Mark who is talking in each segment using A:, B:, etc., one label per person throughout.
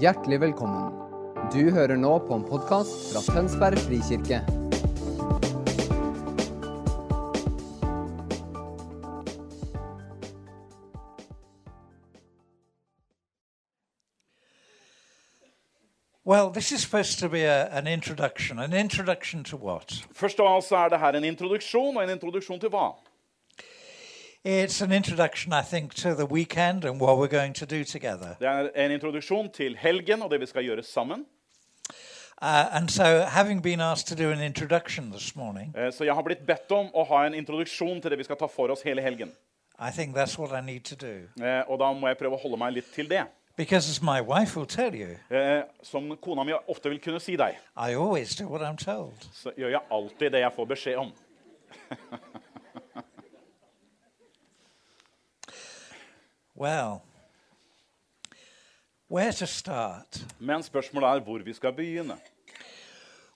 A: Hjertelig velkommen. Du hører nå på en podkast fra Tønsberg frikirke.
B: Well, this is supposed to be a, an introduction. An introduction to what?
C: Først av alt så er det her en introduksjon, og en introduksjon til hva?
B: It's an introduction, I think, to the weekend and what we're going to do together.
C: Det er en introduksjon til helgen og det vi skal gjøre sammen.
B: Uh, and so, having been asked to do an introduction this morning,
C: Eh, Så jeg har blitt bedt om å ha en introduksjon til det vi skal ta for oss hele helgen.
B: I think that's what I need to do.
C: Eh, Og da må jeg prøve å holde meg litt til det.
B: Because, as my wife will tell you,
C: Eh, Som kona mi ofte vil kunne si deg,
B: I always do what I'm told.
C: så gjør jeg alltid det jeg får beskjed om.
B: Well, where to start?
C: Men spørsmålet er hvor vi skal begynne.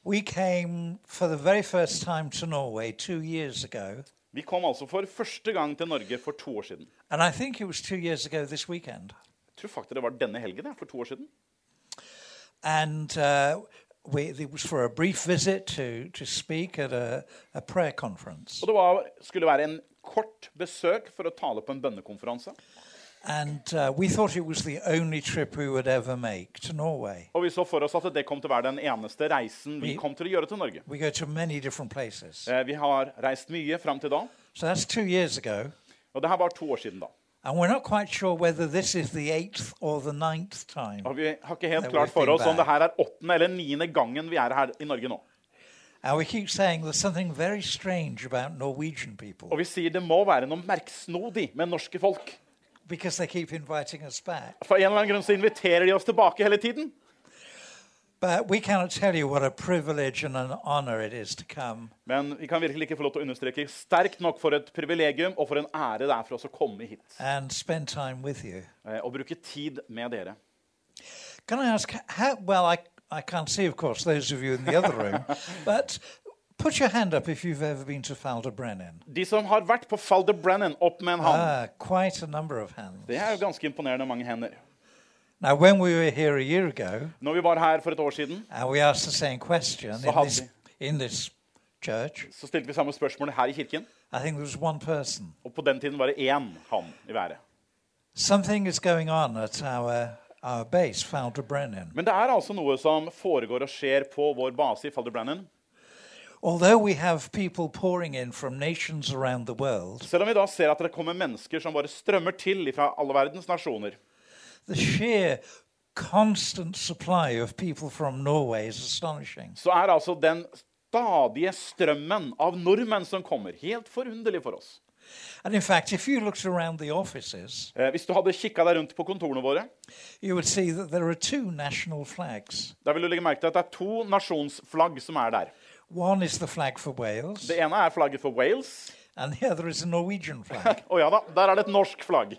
B: We came for the very first time to Norway two years ago,
C: Vi kom altså for første gang til Norge for to år siden.
B: and I think it was two years ago this weekend.
C: Jeg tror faktisk det var denne helgen, jeg, for to år siden.
B: and uh, we, it was for a brief visit to, to speak at a, a prayer conference.
C: Og det var, skulle være en kort besøk for å tale på en bønnekonferanse.
B: And uh, we thought it was the only trip we would ever make to Norway.
C: Og vi så for oss at det kom til å være den eneste reisen vi kom til å gjøre til Norge.
B: We go to many different places.
C: Eh, Vi har reist mye fram til da.
B: So that's two years ago.
C: Og det her var to år siden da.
B: And we're not quite sure whether this is the eighth or the ninth time.
C: Og vi har ikke helt
B: Nei,
C: klart for
B: we've
C: oss
B: been
C: om det
B: back.
C: her er åttende eller niende gangen vi er her i Norge nå.
B: And we keep saying there's something very strange about Norwegian people
C: Og vi sier det må være noe merksnodig med norske folk.
B: because they keep inviting us back.
C: For en eller annen grunn så inviterer de oss tilbake hele tiden.
B: But we cannot tell you what a privilege and an honor it is to come
C: Men vi kan virkelig ikke få lov til å understreke sterkt nok for et privilegium og for en ære det er for oss å komme hit
B: and spend time with you.
C: eh, og bruke tid med dere.
B: Can I ask how? Well, I I can't see, of course, those of you in the other room, but put your hand up if you've ever been to Falderbrennen.
C: De som har vært på Falder Brennan, opp med en hånd.
B: Ah, quite a number of hands.
C: Det er jo ganske imponerende mange hender.
B: Now, when we were here a year ago,
C: Når vi var her for et år siden,
B: and we asked the same question in
C: how
B: this,
C: many?
B: in this church,
C: så stilte vi samme spørsmål her i kirken.
B: I think there was one person.
C: Og på den tiden var det én hann i været.
B: Something is going on at our our base, Falderbrennen.
C: Men det er altså noe som foregår og skjer på vår base i Falderbrennen.
B: Although we have people pouring in from nations around the world,
C: Selv om vi da ser at det kommer mennesker som bare strømmer til fra alle verdens nasjoner,
B: the sheer constant supply of people from Norway is astonishing.
C: så er altså den stadige strømmen av nordmenn som kommer, helt forunderlig for oss.
B: And in fact, if you looked around the offices,
C: Eh, hvis du hadde kikka deg rundt på kontorene våre,
B: you would see that there are two national flags.
C: da vil du legge merke til at det er to nasjonsflagg som er der.
B: One is the flag for Wales,
C: Det ene er flagget for Wales.
B: and the other is a Norwegian flag.
C: Å ja da, der er det et norsk flagg.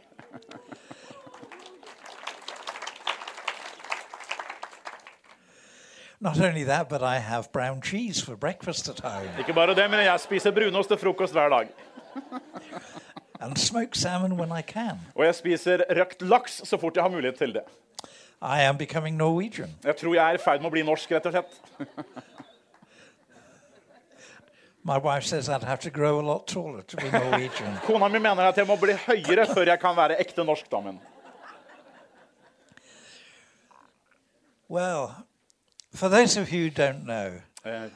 B: Not only that, but I have brown cheese for breakfast at home,
C: Ikke bare det, men jeg spiser brunost til frokost hver dag.
B: and smoked salmon when I can.
C: Og jeg spiser røkt laks så fort jeg har mulighet til det.
B: I am becoming Norwegian.
C: Jeg tror jeg er i ferd med å bli norsk, rett og slett.
B: My wife says I'd have to grow a lot taller to be Norwegian.
C: Kona mi mener at jeg må bli høyere før jeg kan være ekte norsk, da, men
B: well, for those of you who don't know,
C: eh,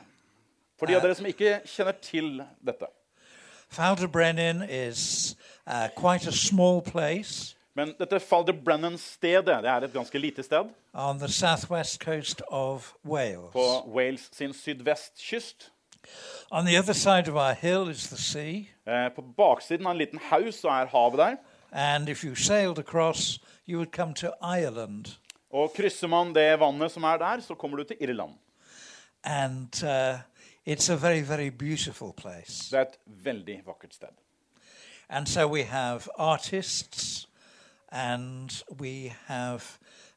C: For de av dere som ikke kjenner til dette
B: Falderbrennen is uh, quite a small place
C: Men dette Falder Brennan-stedet det er et ganske lite sted
B: on the southwest coast of Wales.
C: på Wales sin sydvestkyst.
B: On the other side of our hill is the sea,
C: Eh, På baksiden av en liten haug så er havet der.
B: and if you sailed across, you would come to Ireland.
C: Og krysser man det vannet som er der, så kommer du til Irland.
B: And uh, it's a very, very beautiful place.
C: Det er et veldig vakkert sted.
B: And so we have artists, and we have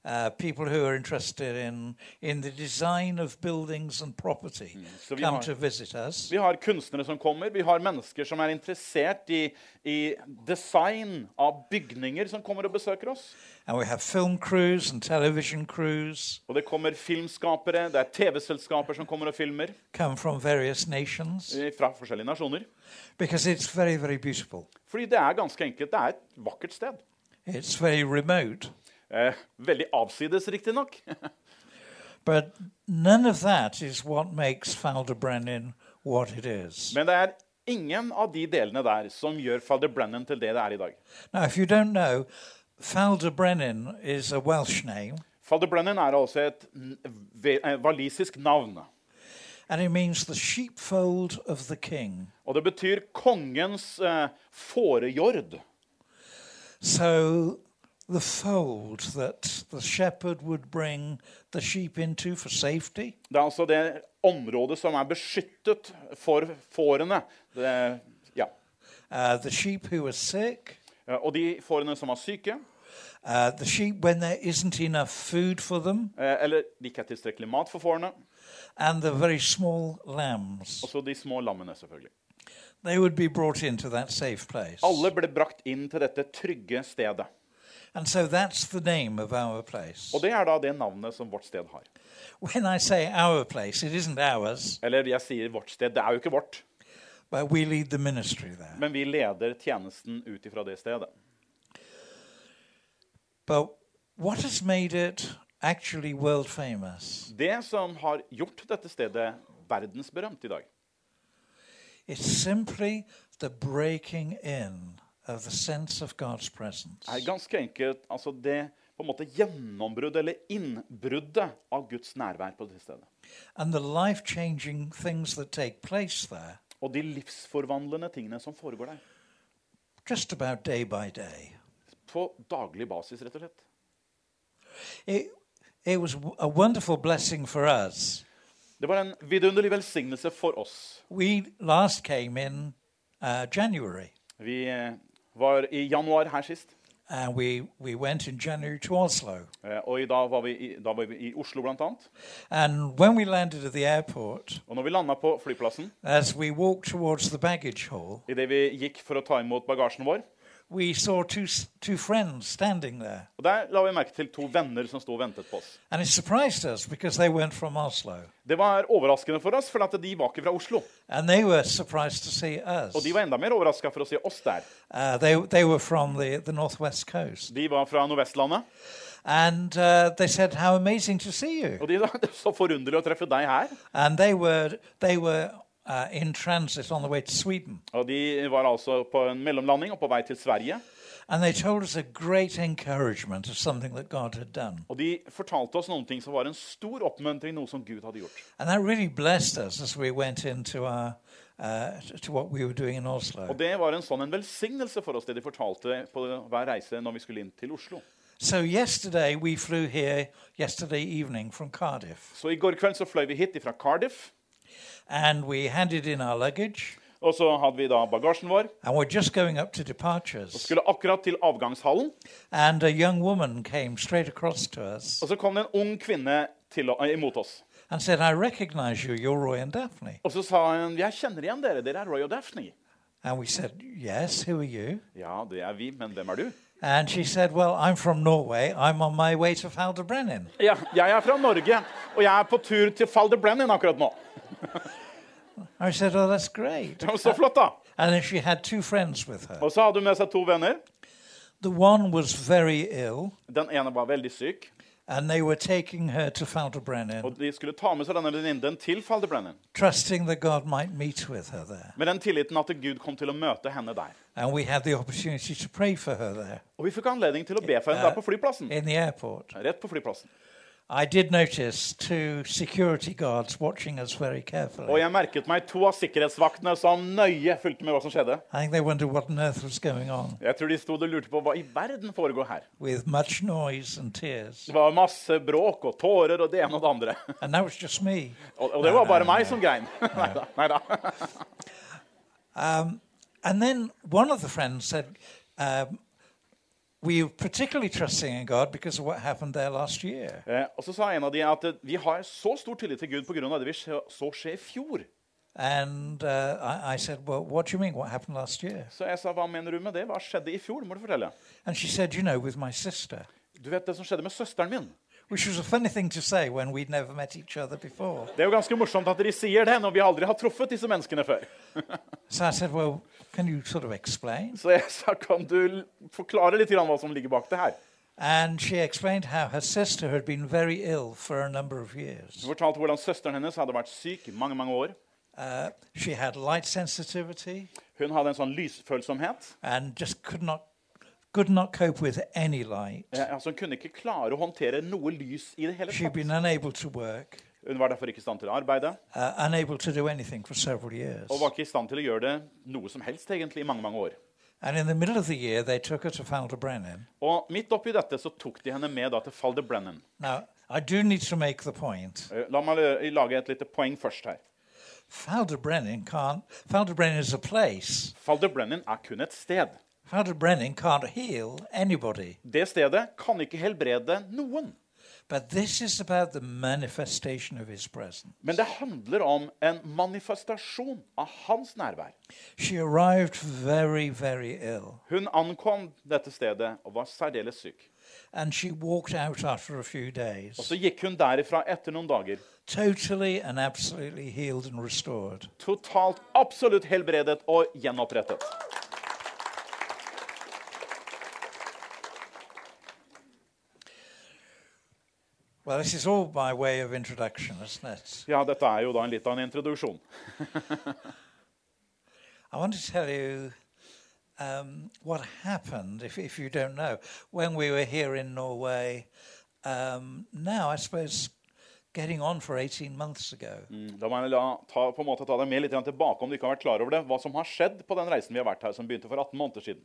B: uh, people who are interested in, in the design of buildings and property
C: Mm, so we
B: come
C: are-
B: to visit us.
C: Vi har kunstnere som kommer, vi har mennesker som er interessert i, i design av bygninger, som kommer og besøker oss.
B: And we have film crews and television crews
C: Og det kommer filmskapere, det er TV-selskaper som kommer og filmer
B: come from various nations
C: eh, fra forskjellige nasjoner.
B: because it's very, very beautiful.
C: Fordi det er ganske enkelt, det er et vakkert sted.
B: It's very remote.
C: Eh, veldig avsides, riktignok.
B: But none of that is what makes Faldebrennen what it is.
C: Men det er ingen av de delene der som gjør Father Brennan til det det er i dag.
B: Now, if you don't know, Faldebrennen is a Welsh name
C: Father Brennan er altså et n- ve- eh, walisisk navn.
B: and it means the sheepfold of the king.
C: Og det betyr kongens eh, fårejord.
B: So the fold that the shepherd would bring the sheep into for safety
C: Det er altså det området som er beskyttet for fårene. Det, ja.
B: uh, the sheep who are sick,
C: Eh, Og de fårene som var syke,
B: uh, the sheep when there isn't enough food for them,
C: eh, eller de ikke er tilstrekkelig mat for fårene.
B: and the very small lambs.
C: Og så de små lammene, selvfølgelig.
B: They would be brought into that safe place.
C: Alle ble brakt inn til dette trygge stedet.
B: And so that's the name of our place.
C: Og det er da det navnet som vårt sted har.
B: When I say our place, it isn't ours,
C: Eller jeg sier vårt sted, det er jo ikke vårt.
B: but we lead the ministry there.
C: Men vi leder tjenesten ut ifra det stedet.
B: But what has made it actually world famous?
C: Det som har gjort dette stedet verdensberømt i dag,
B: It's simply the breaking in of the sense of God's presence.
C: er ganske enkelt altså det på en måte gjennombruddet eller innbruddet av Guds nærvær på dette stedet.
B: And the life changing things that take place there
C: Og de livsforvandlende tingene som foregår der.
B: just about day by day.
C: På daglig basis, rett og slett.
B: It, it was w- a wonderful blessing for us.
C: Det var en vidunderlig velsignelse for oss.
B: We last came in uh, January.
C: Vi eh, var i januar her sist,
B: and we, we went in January to Oslo.
C: eh, og i dag var vi i, da var vi i Oslo bl.a.
B: And when we landed at the airport,
C: Og når vi landa på flyplassen,
B: as we walked towards the baggage hall,
C: idet vi gikk for å ta imot bagasjen vår,
B: we saw two, s- two friends standing there.
C: og der la vi merke til to venner som sto og ventet på oss.
B: And it surprised us because they weren't from Oslo.
C: Det var overraskende for oss, for at de var ikke fra Oslo.
B: And they were surprised to see us.
C: Og de var enda mer overraska for å se oss der.
B: Uh, they, they were from the, the northwest coast.
C: De var fra Nordvestlandet.
B: And uh, they said, How amazing to see you.
C: Og de sa det er så forunderlig å treffe deg her.
B: And they were, they were uh, in transit on the way to Sweden.
C: Og de var altså på en mellomlanding og på vei til Sverige.
B: And they told us a great encouragement of something that God had done.
C: Og de fortalte oss noen ting som var en stor oppmuntring, noe som Gud hadde gjort.
B: And that really blessed us as we went into our, uh, t- to what we were doing in
C: Og
B: Oslo.
C: det var en sånn en velsignelse for oss, det de fortalte på hver reise når vi skulle inn til Oslo.
B: So yesterday we flew here yesterday evening from Cardiff,
C: Så i går kveld så fløy vi hit fra Cardiff.
B: and we handed in our luggage,
C: Og så hadde vi da bagasjen vår.
B: and we're just going up to departures.
C: Skulle akkurat til avgangshallen.
B: And a young woman came straight across to us
C: Og så kom det en ung kvinne til, å- eh, imot oss.
B: and said, "I recognise you. You're Roy and Daphne."
C: Og så sa hun jeg kjenner igjen dere. Dere er Roy og Daphne.
B: And we said, "Yes. Who are you?"
C: Ja, det er vi, men hvem er du?
B: And she said, "Well, I'm from Norway. I'm on my way to Faldebrennen."
C: Ja, jeg er fra Norge, og jeg er på tur til Falder Brennan akkurat nå.
B: I said, "Oh, that's great."
C: Det var Så flott, da.
B: And then she had two friends with her.
C: Og så hadde hun med seg to venner.
B: The one was very ill,
C: Den ene var veldig syk,
B: and they were taking her to Faldebrennen,
C: og de skulle ta med seg denne venninnen til Falder Brennan.
B: trusting that God might meet with her there.
C: Med den tilliten at Gud kom til å møte henne der.
B: And we had the opportunity to pray for her there
C: Og vi fikk anledning til å be for henne der på flyplassen.
B: in the airport.
C: Rett på flyplassen.
B: I did notice two security guards watching us very
C: Og
B: carefully.
C: jeg merket meg to av sikkerhetsvaktene som nøye fulgte med hva som skjedde.
B: I think they wondered what on earth was going on
C: Jeg tror de stod og lurte på hva i verden foregår her.
B: with much noise and tears.
C: Det var masse bråk og tårer og det ene og det andre.
B: And that was just me.
C: Og, og det var bare meg som grein. Neida, neida.
B: And then one of the friends said, um, we are particularly trusting in God because of what happened there last year.
C: Eh, og så sa en av de at eh, vi har så stor tillit til Gud pga. det vi så så skje i fjor.
B: And uh, I, I said, Well, what do you mean? What happened last year?
C: Så jeg sa, hva mener du med det? Hva skjedde i fjor? må du fortelle.
B: And she said, You know, with my sister,
C: Du vet det som skjedde med søsteren min?
B: which was a funny thing to say when we'd never met each other before.
C: Det er jo ganske morsomt at dere sier det når vi aldri har truffet disse menneskene før.
B: So I said, Well, can you sort of explain?
C: Så jeg sa, kan du l- forklare litt grann hva som ligger bak det her?
B: And she explained how her sister had been very ill for a number of years.
C: Hun fortalte hvordan søsteren hennes hadde vært syk i mange, mange år.
B: Uh, she had light sensitivity
C: Hun hadde en sånn lysfølsomhet.
B: and just could not, could not cope with any light.
C: Eh, Altså, hun kunne ikke klare å håndtere noe lys i det hele
B: She'd
C: tatt.
B: been unable to work,
C: Hun var derfor ikke i stand til å arbeide,
B: uh, unable to do anything for several years.
C: og var ikke i stand til å gjøre det noe som helst egentlig i mange, mange år.
B: And in the middle of the year, they took her to Faldebrennen.
C: Og midt oppi dette så tok de henne med da til Falder Brennan.
B: Now, I do need to make the point.
C: Eh, La meg lø- lage et lite poeng først her.
B: Faldebrennen can't. Faldebrennen is a place.
C: Falder Brennan er kun et sted.
B: Faldebrennen can't heal anybody.
C: Det stedet kan ikke helbrede noen.
B: But this is about the manifestation of his presence.
C: Men det handler om en manifestasjon av hans nærvær.
B: She arrived very, very ill,
C: Hun ankom dette stedet og var særdeles syk.
B: and she walked out after a few
C: Og
B: days,
C: så gikk hun derifra etter noen dager
B: totally and absolutely healed and restored.
C: totalt, absolutt helbredet og gjenopprettet.
B: Well, this is all by way of introduction, isn't it?
C: Ja, dette er jo da en litt av en introduksjon.
B: I want to tell you um, what happened, if, if you don't know. When we were here in Norway, um, now I suppose getting on for 18 months ago,
C: Mm, Da må jeg la, ta, på en måte ta deg med litt grann tilbake om du ikke har vært klar over det, hva som har skjedd på den reisen vi har vært her, som begynte for 18 måneder siden.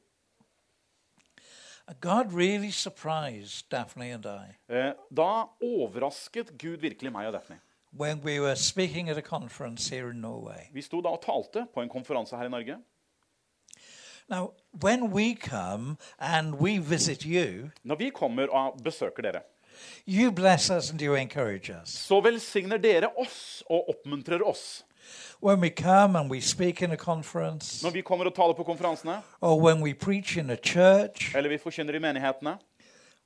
B: God really surprised Daphne and I.
C: Eh, Da overrasket Gud virkelig meg og Daphne.
B: when we were speaking at a conference here in Norway.
C: Vi sto da og talte på en konferanse her i Norge.
B: Now, when we come and we visit you,
C: Når vi kommer og besøker dere,
B: you bless us and you encourage us.
C: så velsigner dere oss og oppmuntrer oss.
B: When we come and we speak in a conference,
C: Når vi kommer og taler på konferansene,
B: or when we preach in a church,
C: eller vi forkynner i menighetene,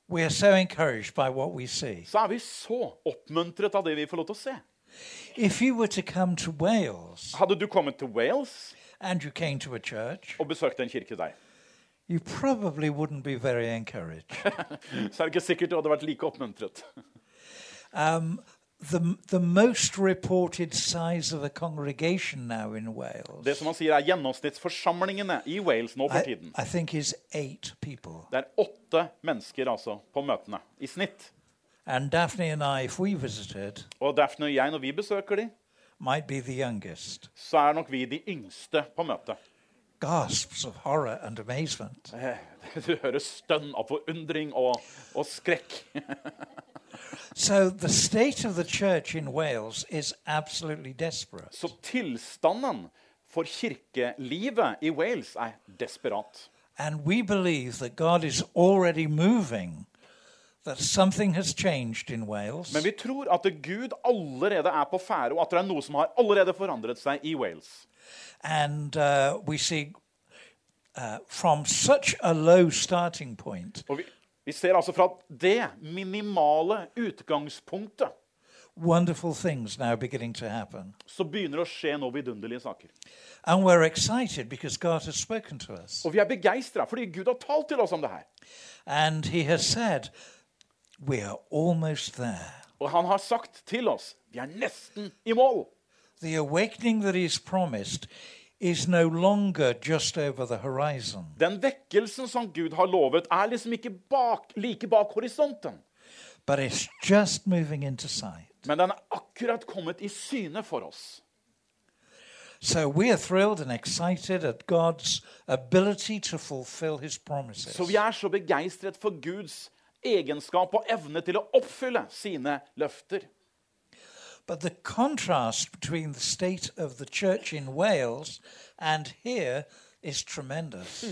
B: we are so encouraged by what we see.
C: så er vi så oppmuntret av det vi får lov til å se.
B: If you were to come to Wales
C: Hadde du kommet til Wales
B: and you came to a church,
C: og besøkt en kirke der,
B: you probably wouldn't be very encouraged.
C: så er det ikke sikkert du hadde vært like oppmuntret.
B: Um, the, the most reported size of a congregation now in Wales.
C: Det som han sier er gjennomsnittsforsamlingene i Wales nå for
B: I,
C: tiden.
B: I think is eight people.
C: Det er åtte mennesker altså på møtene i snitt.
B: And Daphne and I, if we visited,
C: Og Daphne og jeg, når vi besøker de,
B: might be the youngest.
C: så er nok vi de yngste på møtet.
B: Gasps of horror and amazement.
C: Eh, Du hører stønn av forundring og, og skrekk.
B: So the state of the church in Wales is absolutely desperate.
C: Så tilstanden for kirkelivet i Wales er desperat.
B: And we believe that God is already moving, that something has changed in Wales,
C: Men vi tror at Gud allerede er på ferde, og at det er noe som har allerede forandret seg i Wales.
B: and uh, we see. Uh, from such a low starting point,
C: Og vi, vi ser altså fra det minimale utgangspunktet
B: wonderful things now beginning to happen.
C: så begynner det å skje noe vidunderlige saker.
B: And we're excited because God has spoken to us.
C: Og vi er begeistra fordi Gud har talt til oss om det her.
B: And He has said, We are almost there.
C: Og han har sagt til oss vi er nesten i mål.
B: The awakening that He's promised is no longer just over the horizon,
C: Den vekkelsen som Gud har lovet, er liksom ikke bak, like bak horisonten.
B: but it's just moving into sight.
C: Men den er akkurat kommet i syne for oss.
B: So we are thrilled and excited at God's ability to fulfill His promises.
C: Så vi er så begeistret for Guds egenskap og evne til å oppfylle sine løfter.
B: But the contrast between the state of the church in Wales and here is tremendous.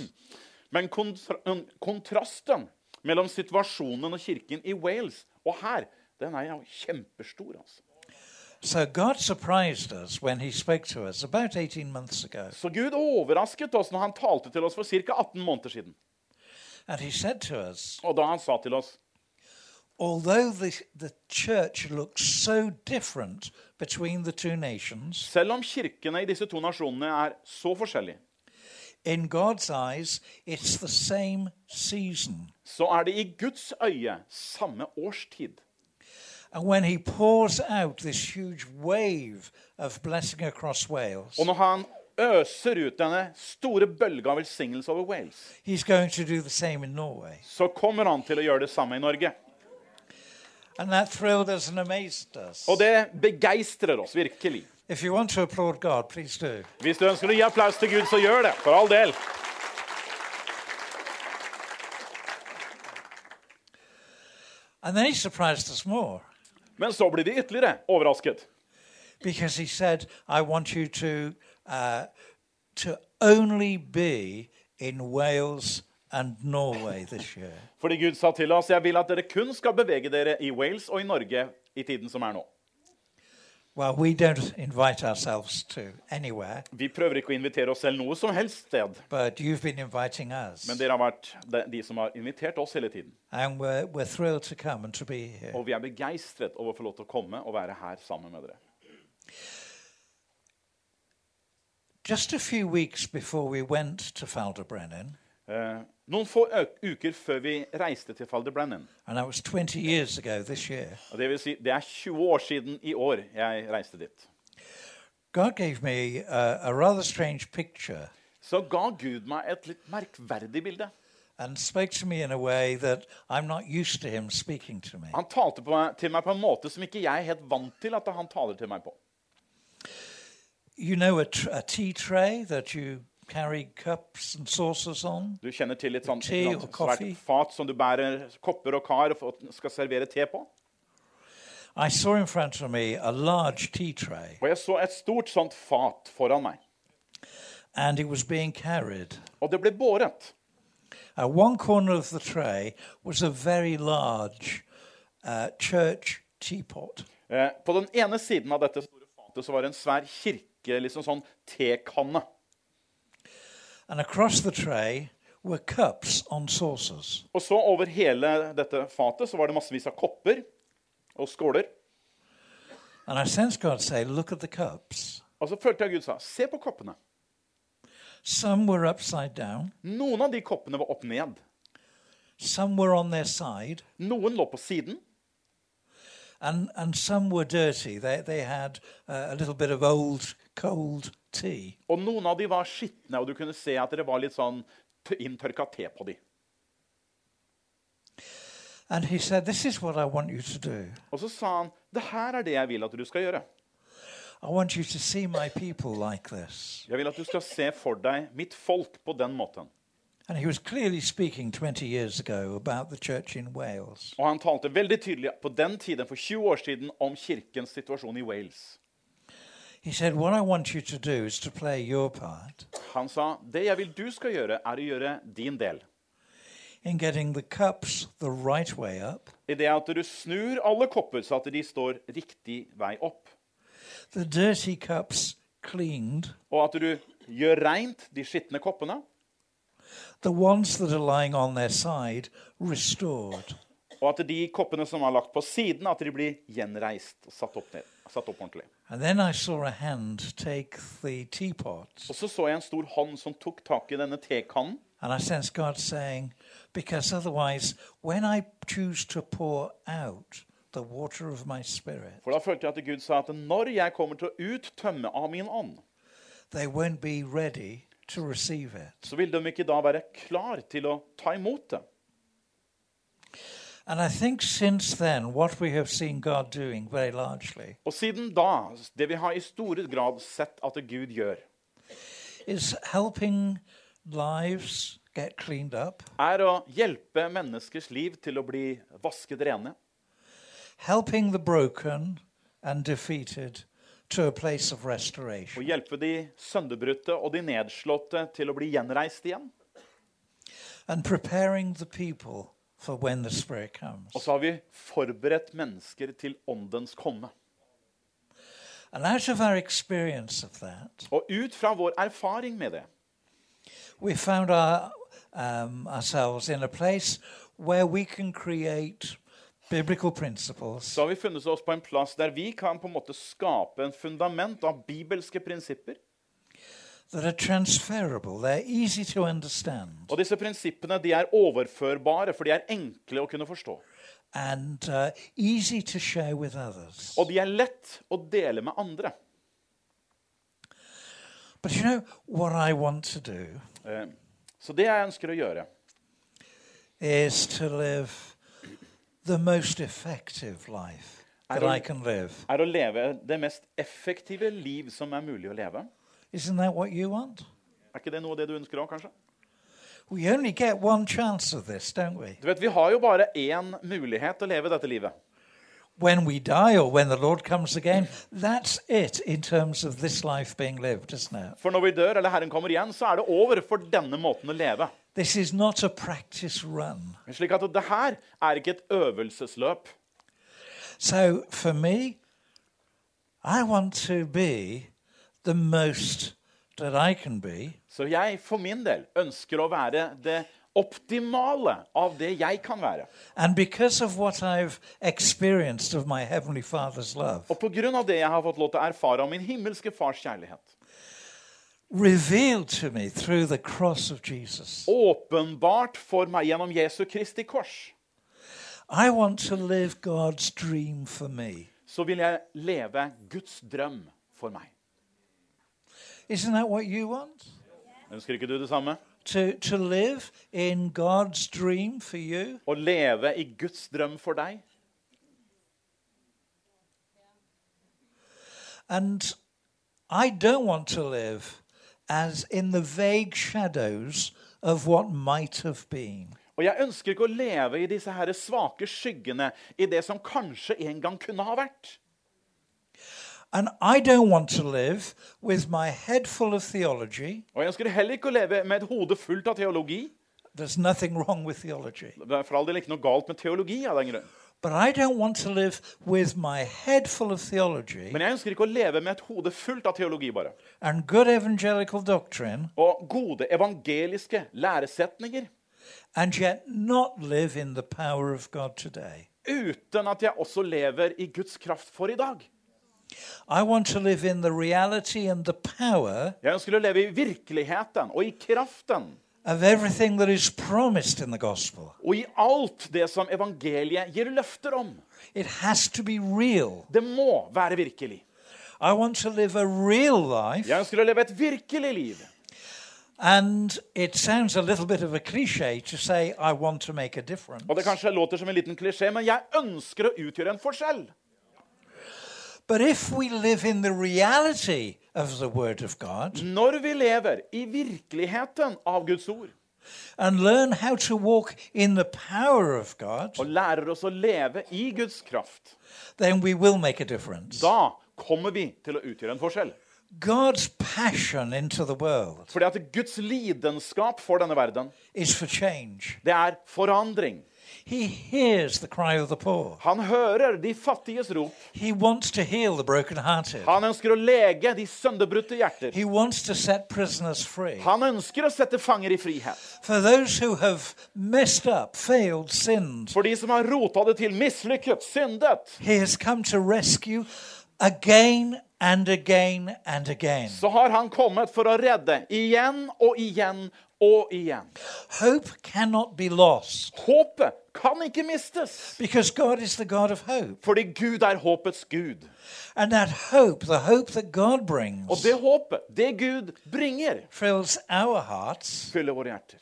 C: Men kontra en- kontrasten mellom situasjonen og kirken i Wales og her, den er jo kjempestor. altså.
B: So God surprised us when He spoke to us about 18 months ago.
C: Så Gud overrasket oss når han talte til oss for ca. 18 måneder siden.
B: And He said to us,
C: Og da han sa til oss
B: although the, the church looks so different between the two nations,
C: Selv om kirkene i disse to nasjonene er så forskjellige,
B: in God's eyes, it's the same season.
C: så er det i Guds øye samme årstid.
B: And when He pours out this huge wave of blessing across Wales,
C: Og når han øser ut denne store bølga av velsignelse over Wales,
B: He's going to do the same in Norway.
C: så kommer han til å gjøre det samme i Norge.
B: And that thrilled us and amazed us.
C: Og det begeistrer oss virkelig.
B: If you want to applaud God, please do.
C: Hvis du ønsker å gi applaus til Gud, så gjør det. For all del.
B: And then he surprised us more
C: Men så blir de ytterligere overrasket.
B: because he said, I want you to, uh, to only be in Wales and Norway this year.
C: Fordi Gud sa til oss jeg vil at dere kun skal bevege dere i Wales og i Norge i tiden som er nå.
B: Well, we don't invite ourselves to anywhere,
C: Vi prøver ikke å invitere oss selv noe som helst sted,
B: but you've been inviting us.
C: men dere har vært de- de som har invitert oss hele tiden.
B: And we're, we're thrilled to come and to be here.
C: Og vi er begeistret over å få lov til å komme og være her sammen med dere.
B: Just a few weeks before we went to Faldebrennen,
C: Eh, noen få ø- uker før vi reiste til Faldebrennen,
B: and that was 20 years ago this year,
C: og det, vil si, det er 20 år siden i år jeg reiste dit,
B: God gave me uh, a rather strange picture
C: så ga Gud meg et litt merkverdig bilde.
B: and spoke to me in a way that I'm not used to him speaking to me.
C: Han talte på meg, til meg på en måte som ikke jeg er helt vant til at han taler til meg på.
B: You know a, tr- a tea tray that you carry cups and saucers on?
C: Du kjenner til litt sånn
B: Te
C: ikke sant,
B: og
C: svært
B: kaffe.
C: fat som du bærer kopper og kar og f- skal servere te på.
B: I saw in front of me a large tea tray
C: Og jeg så et stort sånt fat foran meg,
B: and it was being carried.
C: og det ble båret.
B: At one corner of the tray was a very large uh, church teapot.
C: Eh, på den ene siden av dette store fatet så var det en svær kirke, liksom sånn tekanne.
B: And across the tray were cups on saucers.
C: Og så over hele dette fatet så var det massevis av kopper og skåler.
B: And I sensed God say, Look at the cups.
C: Og så følte jeg Gud sa, se på koppene.
B: Some were upside down,
C: Noen av de koppene var opp ned.
B: some were on their side,
C: Noen lå på siden,
B: and, and some were dirty. They, they had uh, a little bit of old, cold tea.
C: og noen av de var skitne, og du kunne se at det var litt sånn t- inntørka te på de.
B: And he said, This is what I want you to do.
C: Og så sa han, det her er det jeg vil at du skal gjøre.
B: I want you to see my people like this.
C: Jeg vil at du skal se for deg mitt folk på den måten.
B: And he was clearly speaking 20 years ago about the church in Wales.
C: Og han talte veldig tydelig på den tiden, for 20 år siden, om kirkens situasjon i Wales.
B: He said, What I want you to do is to play your part
C: Han sa, det jeg vil du skal gjøre, er å gjøre din del.
B: in getting the cups the right way up,
C: I det at du snur alle kopper så at de står riktig vei opp.
B: the dirty cups cleaned,
C: Og at du gjør rent de skitne koppene,
B: the ones that are lying on their side restored.
C: og at de koppene som er lagt på siden, at de blir gjenreist og satt opp, ned, satt opp ordentlig.
B: And then I saw a hand take the teapot,
C: Og så så jeg en stor hånd som tok tak i denne tekannen.
B: and I sensed God saying, Because otherwise, when I choose to pour out the water of my spirit,
C: For da følte jeg at Gud sa at når jeg kommer til å uttømme av min ånd,
B: they won't be ready to receive it.
C: så vil de ikke da være klar til å ta imot det.
B: And I think since then, what we have seen God doing very largely
C: Og siden da, det vi har i store grad sett at Gud gjør,
B: is helping lives get cleaned up,
C: er å hjelpe menneskers liv til å bli vasket rene.
B: helping the broken and defeated to a place of
C: Og
B: restoration.
C: hjelpe de sønderbrutte og de nedslåtte til å bli gjenreist igjen.
B: and preparing the people for when the Spirit comes.
C: Og så har vi forberedt mennesker til åndens komme.
B: And out of our experience of that,
C: Og ut fra vår erfaring med det,
B: we found our, um, ourselves in a place where we can create biblical principles
C: så har vi funnet oss på en plass der vi kan på en måte skape en fundament av bibelske prinsipper.
B: that are transferable, they're easy to understand,
C: Og disse prinsippene de er overførbare, for de er enkle å kunne forstå.
B: and uh, easy to share with others.
C: Og de er lett å dele med andre.
B: But you know, what I want to do
C: Eh, Så det jeg ønsker å gjøre,
B: is to live the most effective life
C: I
B: that
C: don't-
B: I can live.
C: er å leve det mest effektive liv som er mulig å leve.
B: Isn't that what you want?
C: Er ikke det noe av det du ønsker òg, kanskje?
B: We only get one chance of this, don't we?
C: Du vet, Vi har jo bare én mulighet til å leve dette livet.
B: When we die or when the Lord comes again, that's it in terms of this life being lived, isn't it?
C: For når vi dør, eller Herren kommer igjen, så er det over for denne måten å leve.
B: This is not a practice run.
C: Slik at det her er ikke et øvelsesløp.
B: So for me, I want to be the most that I can be
C: Så jeg for min del ønsker å være det optimale av det jeg kan være.
B: And because of what I've experienced of my Heavenly Father's love,
C: Og pga. det jeg har fått lov til å erfare av min himmelske fars kjærlighet,
B: revealed to me through the cross of Jesus,
C: åpenbart for meg gjennom Jesu Kristi kors,
B: I want to live God's dream for me.
C: så vil jeg leve Guds drøm for meg.
B: Isn't that what you want?
C: Ønsker ikke du det samme?
B: To, to live in God's dream for you?
C: Å leve i Guds drøm for deg?
B: And I don't want to live as in the vague shadows of what might have been.
C: Og jeg ønsker ikke å leve i disse her svake skyggene, i det som kanskje en gang kunne ha vært.
B: And I don't want to live with my head full of theology.
C: Og jeg ønsker heller ikke å leve med et hode fullt av teologi.
B: There's nothing wrong with theology.
C: Det er for all del ikke noe galt med teologi av den grunn.
B: But I don't want to live with my head full of theology
C: Men jeg ønsker ikke å leve med et hode fullt av teologi, bare.
B: and good evangelical doctrine
C: Og gode evangeliske læresetninger.
B: and yet not live in the power of God today.
C: Uten at jeg også lever i Guds kraft for i dag.
B: I want to live in the reality and the power
C: Jeg ønsker å leve i virkeligheten og i kraften.
B: of everything that is promised in the gospel.
C: Og i alt det som evangeliet gir løfter om.
B: It has to be real.
C: Det må være virkelig.
B: I want to live a real life.
C: Jeg ønsker å leve et virkelig liv.
B: And it sounds a little bit of a cliche to say, I want to make a difference.
C: Og det kanskje låter som en liten klisjé, men jeg ønsker å utgjøre en forskjell.
B: But if we live in the reality of the Word of God,
C: Når vi lever i virkeligheten av Guds ord,
B: and learn how to walk in the power of God,
C: og lærer oss å leve i Guds kraft,
B: then we will make a difference.
C: da kommer vi til å utgjøre en forskjell.
B: God's passion into the world
C: Fordi at Guds lidenskap for denne verden,
B: is for change.
C: det er forandring.
B: He hears the cry of the poor.
C: Han hører de fattiges rop.
B: He wants to heal the brokenhearted.
C: Han ønsker å lege de sønderbrutte hjerter.
B: He wants to set prisoners free.
C: Han ønsker å sette fanger i frihet.
B: For those who have messed up, failed, sinned,
C: For de som har rota det til, mislykket, syndet,
B: He has come to rescue again and again and again.
C: så har han kommet for å redde igjen og igjen og igjen.
B: Hope cannot be lost
C: Håpet kan ikke mistes,
B: because God is the God of hope.
C: fordi Gud er håpets Gud.
B: And that hope, the hope that God
C: Og
B: brings,
C: det håpet, det Gud bringer,
B: fills our hearts
C: fyller våre hjerter.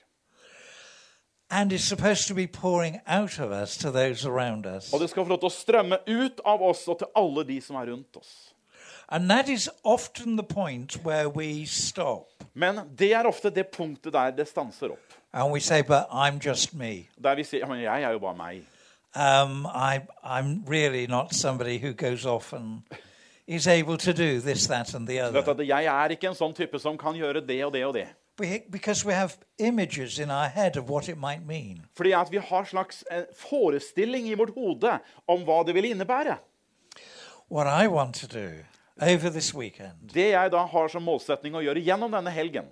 B: and is supposed to be pouring out of us to those around us.
C: Og det skal få lov til å strømme ut av oss og til alle de som er rundt oss.
B: And that is often the point where we stop
C: Men det er ofte det punktet der det stanser opp.
B: and we say, But I'm just me.
C: Der vi sier ja, men 'jeg er jo bare meg'.
B: Um, I, I'm really not somebody who goes off and is able to do this, that, and the
C: Du Vet
B: other.
C: at jeg er ikke en sånn type som kan gjøre det og det og det.
B: Be- Because we have images in our head of what it might mean.
C: Fordi at vi har slags eh, forestilling i vårt hode om hva det vil innebære.
B: What I want to do over this weekend
C: Det jeg da har som målsetning å gjøre gjennom denne helgen,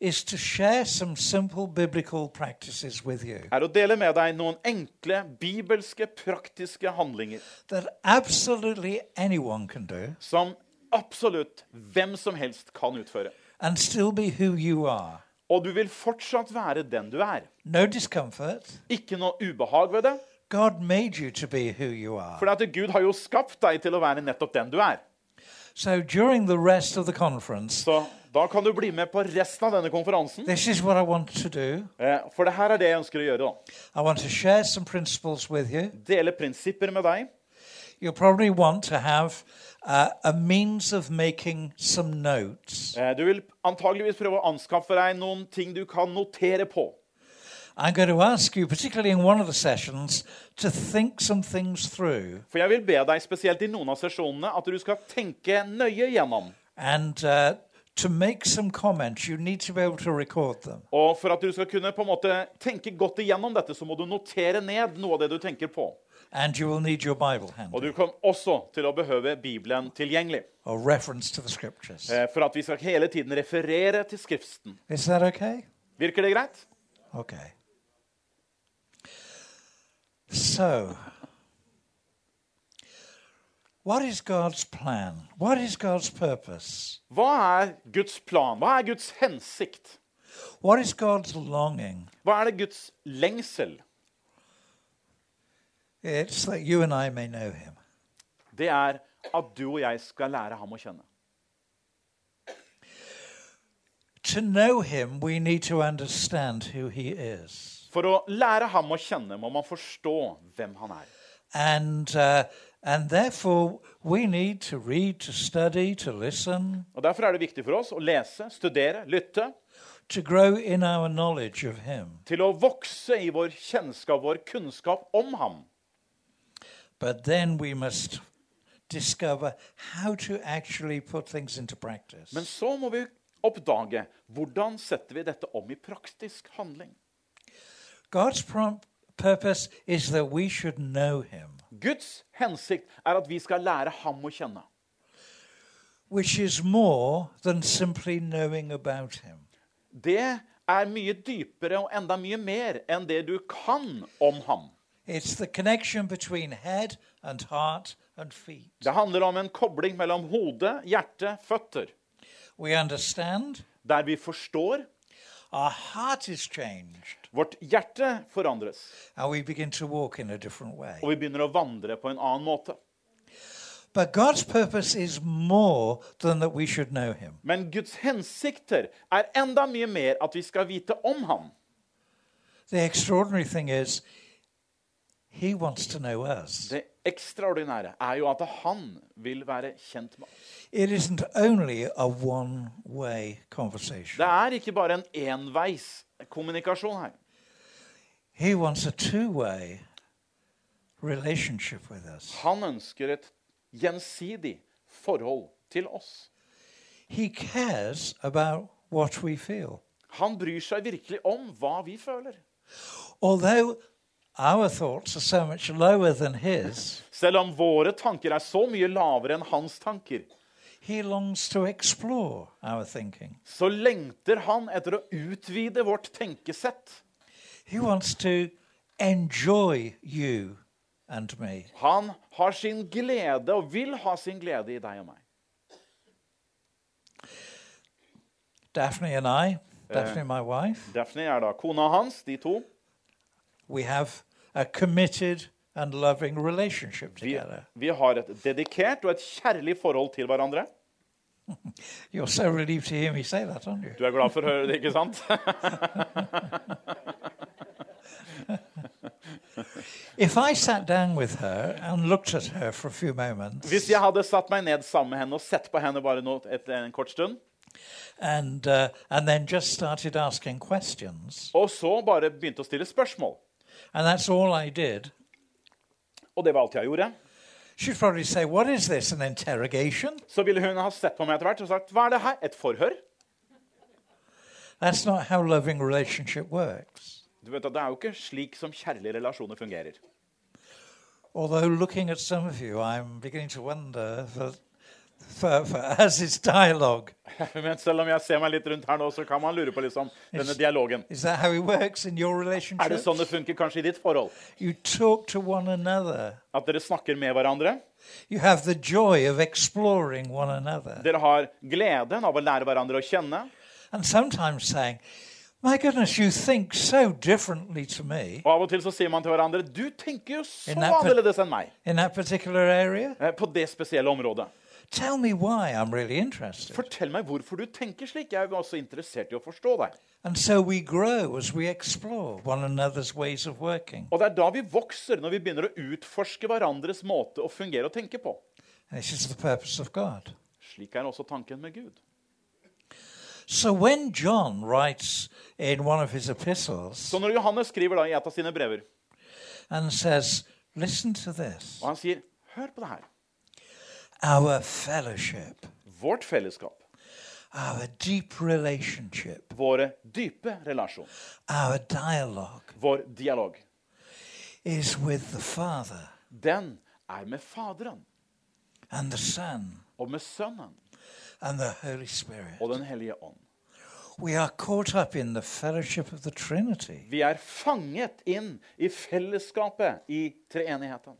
B: is to share some simple biblical practices with you
C: er å dele med deg noen enkle, bibelske, praktiske handlinger
B: that absolutely anyone can do
C: som absolutt hvem som helst kan utføre.
B: and still be who you are.
C: Og du vil fortsatt være den du er.
B: No discomfort.
C: Ikke noe ubehag ved det,
B: God made you to be who you are.
C: for at Gud har jo skapt deg til å være nettopp den du er.
B: So during the rest of the conference,
C: Så da kan du bli med på resten av denne konferansen.
B: this is what I want to do.
C: Eh, For det her er det jeg ønsker å gjøre. da.
B: I want to share some principles with you.
C: Dele prinsipper med deg.
B: You'll probably want to have uh, a means of making some notes.
C: Eh, Du vil antageligvis prøve å anskaffe deg noen ting du kan notere på.
B: I'm going to ask you, particularly in one of the sessions, to think some things through
C: For jeg vil be deg spesielt i noen av sesjonene at du skal tenke nøye gjennom.
B: and uh, to make some comments. You need to be able to record them.
C: Og for at du skal kunne på en måte tenke godt igjennom dette, så må du notere ned noe av det du tenker på.
B: And you will need your Bible handle
C: Og du kommer også til å behøve Bibelen tilgjengelig.
B: or reference to the scriptures.
C: eh, For at vi skal hele tiden referere til Skriften.
B: Is that okay?
C: Virker det greit?
B: Okay. So, what is God's plan? What is God's purpose?
C: Hva er Guds plan? Hva er Guds hensikt?
B: What is God's longing?
C: Hva er det Guds lengsel?
B: It's that you and I may know Him.
C: Det er at du og jeg skal lære ham å kjenne.
B: To know Him, we need to understand who He is.
C: For å lære ham å kjenne må man forstå hvem han er.
B: And, uh, and therefore, we need to read, to study, to listen,
C: Og Derfor er det viktig for oss å lese, studere, lytte,
B: to grow in our knowledge of Him.
C: til å vokse i vår kjennskap, vår kunnskap om ham.
B: But then we must discover how to actually put things into practice.
C: Men så må vi oppdage hvordan setter vi dette om i praktisk handling.
B: God's prom- purpose is that we should know Him,
C: Guds hensikt er at vi skal lære ham å kjenne.
B: which is more than simply knowing about Him.
C: Det er mye dypere og enda mye mer enn det du kan om ham.
B: It's the connection between head and heart and feet.
C: Det handler om en kobling mellom hode, hjerte, føtter.
B: We understand,
C: Der vi forstår,
B: our heart is changed,
C: vårt hjerte forandres,
B: and we begin to walk in a different way.
C: og vi begynner å vandre på en annen måte.
B: But God's purpose is more than that we should know Him.
C: Men Guds hensikter er enda mye mer at vi skal vite om ham.
B: The extraordinary thing is, He wants to know us.
C: Det ekstraordinære er jo at han vil være kjent med oss.
B: It isn't only a one way
C: Det
B: conversation.
C: er ikke bare en enveiskommunikasjon her.
B: He wants a two way relationship with us.
C: Han ønsker et gjensidig forhold til oss.
B: He cares about what we feel.
C: Han bryr seg virkelig om hva vi føler.
B: Although our thoughts are so much lower than His,
C: Selv om våre tanker er så mye lavere enn hans tanker,
B: He longs to explore our thinking.
C: så lengter han etter å utvide vårt tenkesett.
B: He wants to enjoy you and me.
C: Han har sin glede og vil ha sin glede i deg og meg.
B: Daphne and I, Daphne, my wife,
C: Daphne er da kona hans, de to.
B: we have a committed and loving relationship
C: Vi,
B: together.
C: vi har et dedikert og et kjærlig forhold til hverandre.
B: You're so relieved to hear me say that, aren't you?
C: Du er glad for å høre det, ikke sant?
B: If I sat down with her and looked at her for a few moments
C: Hvis jeg hadde satt meg ned sammen med henne og sett på henne bare nå et, en kort stund,
B: and, uh, and then just started asking questions,
C: og så bare begynte å stille spørsmål,
B: and that's all I did,
C: og det var alt jeg gjorde,
B: she'd probably say, What is this, an interrogation?
C: så ville hun ha sett på meg etter hvert og sagt Hva er det her? Et forhør?
B: That's not how loving relationship works.
C: Du vet at Det er jo ikke slik som kjærlige relasjoner fungerer.
B: Although looking at some of you, I'm beginning to wonder that for, for as is dialogue,
C: Men selv om jeg ser meg litt rundt her nå, så kan man lure på liksom, denne dialogen.
B: is that how it works in your
C: Er det
B: relationship?
C: sånn det funker kanskje i ditt forhold?
B: You talk to one another.
C: At dere snakker med hverandre?
B: You have the joy of exploring one another.
C: Dere har gleden av å lære hverandre å kjenne?
B: And sometimes saying, My goodness, you think so differently to me
C: Og av og til så sier man til hverandre Du tenker jo så
B: In that per-
C: annerledes enn meg
B: in that particular area.
C: eh, på det spesielle området.
B: Tell me why I'm really interested.
C: Fortell meg hvorfor du tenker slik. Jeg er jo også interessert i å forstå deg.
B: And so we grow as we explore one another's ways of working.
C: Og det er da vi vokser, når vi begynner å utforske hverandres måte å fungere og tenke på.
B: And this is the purpose of God.
C: Slik er også tanken med Gud.
B: So when John writes in one of his epistles
C: Så når Johannes skriver da i et av sine brever,
B: and says, Listen to this
C: og han sier Hør på det her.
B: our fellowship,
C: Vårt fellesskap,
B: our deep relationship,
C: våre dype relasjon,
B: our dialogue
C: vår dialog,
B: is with the Father
C: den er med Faderen
B: and the Son
C: og med Sønnen
B: and the Holy Spirit.
C: og Den hellige ånd.
B: We are caught up in the fellowship of the Trinity
C: Vi er fanget inn i fellesskapet i treenigheten.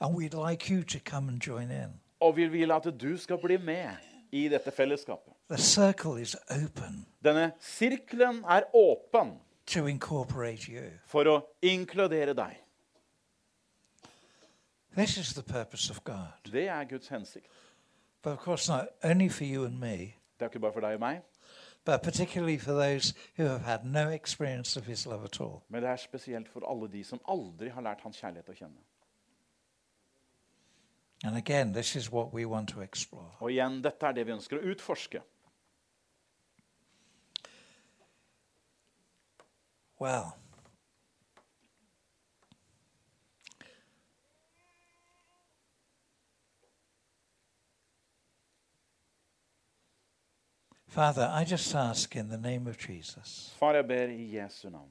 B: and we'd like you to come and join in.
C: Og vi vil at du skal bli med i dette fellesskapet.
B: The circle is open
C: Denne sirkelen er åpen
B: to incorporate you.
C: for å inkludere deg.
B: This is the purpose of God.
C: Det er Guds hensikt.
B: But of course, not only for you and me,
C: Det er ikke bare for deg og meg,
B: but particularly for those who have had no experience of His love at all.
C: men det er spesielt for alle de som aldri har lært hans kjærlighet å kjenne.
B: And again, this is what we want to explore.
C: Og igjen, dette er det vi ønsker å utforske.
B: Well, Father, I just ask in the name of Jesus
C: Far, jeg ber i Jesu navn,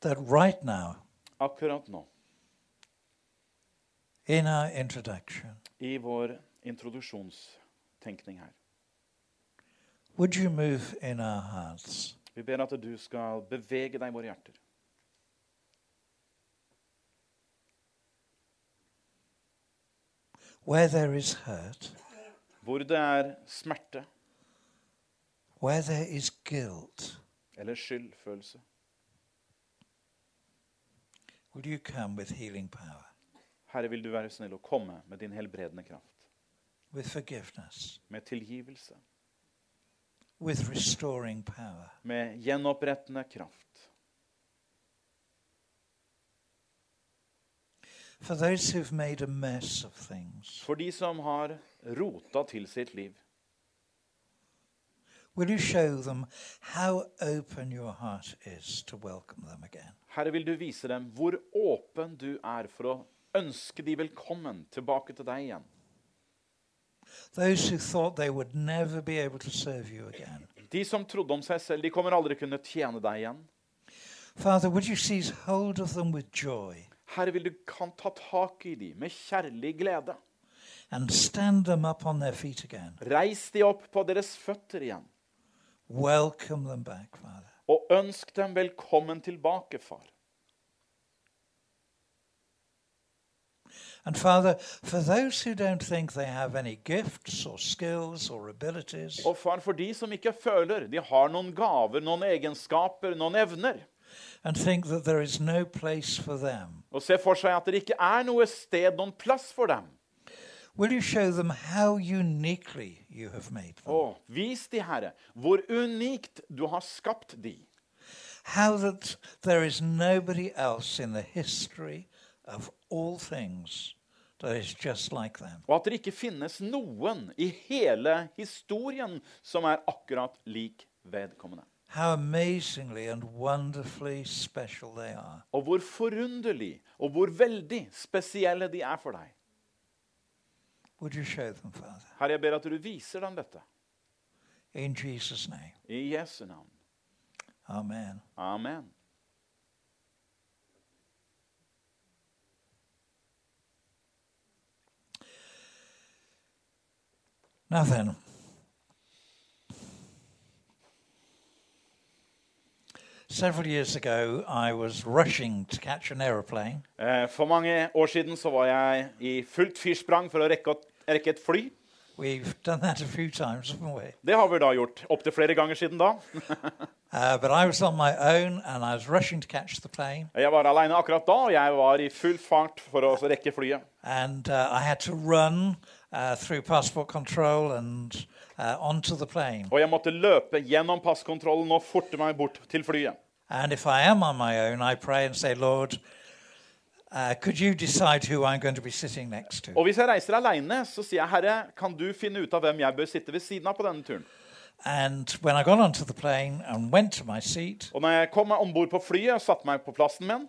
B: that right now,
C: akkurat nå,
B: in our introduction,
C: i vår introduksjonstenkning her,
B: would you move in our hearts
C: vi ber at du skal bevege deg i våre hjerter.
B: where there is hurt,
C: Hvor det er smerte
B: where there is guilt?
C: eller skyldfølelse,
B: Would you come with healing power,
C: Herre, vil du være snill å komme med din helbredende kraft,
B: with forgiveness,
C: med tilgivelse,
B: with restoring power?
C: med gjenopprettende kraft.
B: For those who've made a mess of things,
C: For de som har rota til sitt liv,
B: Will you show them how open your heart is to welcome them again?
C: Herre, vil du vise dem hvor åpen du er for å ønske de velkommen tilbake til deg igjen.
B: Those who thought they would never be able to serve you again.
C: De som trodde om seg selv, de kommer aldri kunne tjene deg igjen.
B: Father, would you seize hold of them with joy
C: Herre, vil du kan ta tak i de med kjærlig glede.
B: and stand them up on their feet again?
C: Reis de opp på deres føtter igjen,
B: Welcome them back, Father.
C: og ønsk dem velkommen tilbake, far.
B: And Father, for those who don't think they have any gifts or skills or abilities,
C: Og far, for de som ikke føler de har noen gaver, noen egenskaper, noen evner,
B: and think that there is no place for them,
C: og ser for seg at det ikke er noe sted, noen plass for dem,
B: will you show them how uniquely you have made them?
C: Å, vis de, Herre, hvor unikt du har skapt de.
B: how that there is nobody else in the history of all things that is just like them.
C: Og at det ikke finnes noen i hele historien som er akkurat lik vedkommende.
B: How amazingly and wonderfully special they are.
C: Og hvor forunderlig og hvor veldig spesielle de er for deg.
B: Would you show them, Father,
C: Herre, jeg ber at du viser dem dette
B: In Jesus' name.
C: I Jesu navn.
B: Amen.
C: Amen.
B: Now then, several years ago, I was rushing to catch an aeroplane.
C: Eh, For mange år siden så var jeg i fullt fyrsprang for å rekke, å- rekke et fly.
B: We've done that a few times, haven't we?
C: Det har vi da gjort opptil flere ganger siden da.
B: Uh, but I was on my own and I was rushing to catch the plane,
C: Jeg var aleine akkurat da, og jeg var i full fart for å rekke flyet.
B: and uh, I had to run uh, through passport control and uh, onto the plane.
C: Og jeg måtte løpe gjennom passkontrollen og forte meg bort til flyet.
B: And if I am on my own, I pray and say, Lord, uh, could you decide who I'm going to be sitting next to?
C: Og hvis jeg reiser aleine, så sier jeg, Herre, kan du finne ut av hvem jeg bør sitte ved siden av på denne turen?
B: And when I got onto the plane and went to my seat,
C: Og når jeg kom meg om bord på flyet og satte meg på plassen min,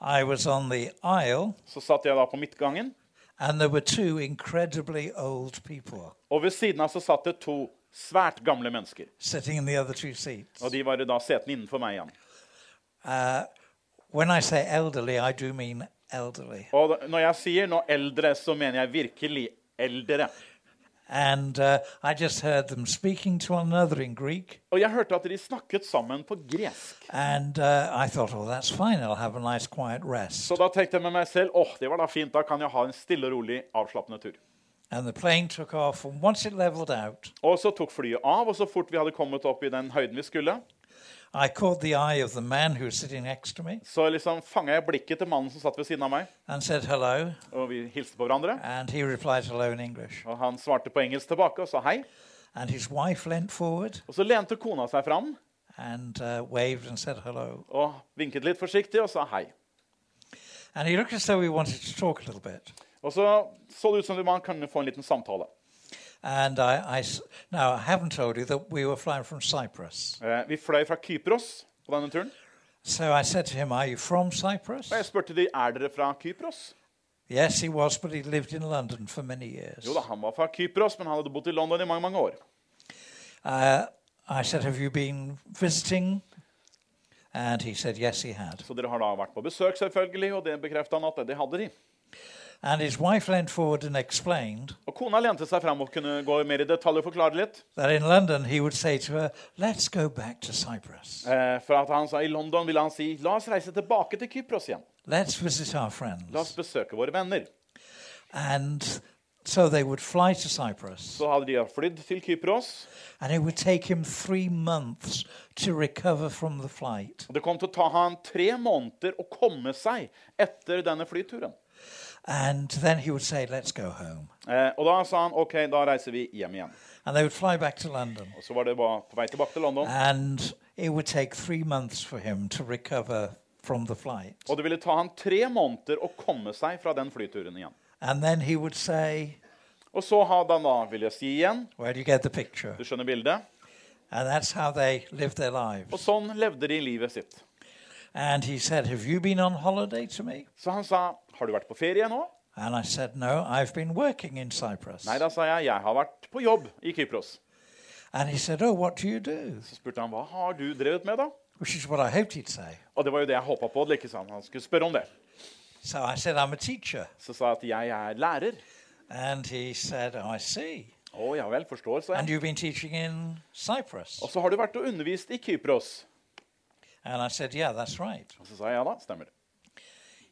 B: I was on the aisle,
C: så satt jeg da på midtgangen.
B: and there were two incredibly old people
C: Og ved siden av så satt det to svært gamle mennesker.
B: sitting in the other two seats.
C: Og de var da setene innenfor meg igjen.
B: When I say elderly, I do mean elderly.
C: Og da- når jeg sier nå eldre, så mener jeg virkelig eldre.
B: And uh, I just heard them speaking to one another in Greek.
C: Og jeg hørte at de snakket sammen på gresk.
B: And uh, I thought, oh, that's fine. I'll have a nice quiet rest.
C: Så da tenkte jeg med meg selv åh, det var da fint, da kan jeg ha en stille og rolig, avslappende tur.
B: And the plane took off. And once it leveled out,
C: Og så tok flyet av, og så fort vi hadde kommet opp i den høyden vi skulle,
B: I caught the eye of the man who was sitting next to me
C: så liksom fanga jeg blikket til mannen som satt ved siden av meg,
B: and said hello.
C: og vi hilste på hverandre.
B: And he replied hello in English.
C: Og han svarte på engelsk tilbake og sa hei.
B: And his wife leant forward
C: Og så lente kona seg fram
B: and uh, waved and said hello.
C: og vinket litt forsiktig og sa hei.
B: And he looked as though he wanted to talk a little bit.
C: Og så så det ut som om man kunne få en liten samtale.
B: And I, I s- now I haven't told you that we were flying from Cyprus.
C: Eh, Vi fløy fra Kypros på denne turen.
B: So I said to him, "Are you from Cyprus?"
C: Og jeg spurte de, er dere fra Kypros.
B: Yes, he was, but he lived in London for many years.
C: Jo da, han var fra Kypros, men han hadde bodd i London i mange mange år.
B: Uh, I said, "Have you been visiting?" And he said, "Yes, he had."
C: Så dere har da vært på besøk, selvfølgelig, og det bekrefta han at det hadde de.
B: And his wife leant forward and explained
C: Og kona lente seg fram og kunne gå mer i detalj og forklare litt.
B: that in London he would say to her, "Let's go back to Cyprus.
C: Eh, For at han sa i London ville han si la oss reise tilbake til Kypros igjen.
B: Let's visit our
C: La oss
B: friends."
C: besøke våre venner.
B: And so they would fly to Cyprus,
C: Så hadde de flydd til Kypros.
B: and it would take him three months to recover from the flight.
C: Og Det kom til å ta han tre måneder å komme seg etter denne flyturen.
B: And then he would say, "Let's go home."
C: Eh, og da sa han OK, da reiser vi hjem igjen.
B: And they would fly back to London.
C: Og så var det bare på vei tilbake til London.
B: And it would take three months for him to recover from the flight.
C: Og det ville ta han tre måneder å komme seg fra den flyturen igjen.
B: And then he would say,
C: Og så hadde han da, vil jeg si igjen,
B: Well, you get the picture.
C: du skjønner bildet.
B: And that's how they lived their lives.
C: Og sånn levde de livet sitt.
B: And he said, Have you been on holiday to me?
C: Så han sa, har du vært på ferie nå?
B: And I said, No, I've been working in Cyprus.
C: Nei, da sa jeg, jeg har vært på jobb i Kypros.
B: And he said, Oh, what do you do?
C: Så spurte han, hva har du drevet med da?
B: Which is what I hoped he'd say.
C: Og det var jo det jeg håpa på. Ikke sant? Han skulle spørre om det.
B: So I said, I'm a teacher.
C: Så sa jeg at jeg er lærer.
B: And he said, oh, I see.
C: Å ja vel, forstår, sa jeg.
B: And you've been teaching in Cyprus?
C: Og så har du vært og undervist i Kypros.
B: And I said, Yeah, that's right.
C: Og så sa jeg ja da, stemmer det.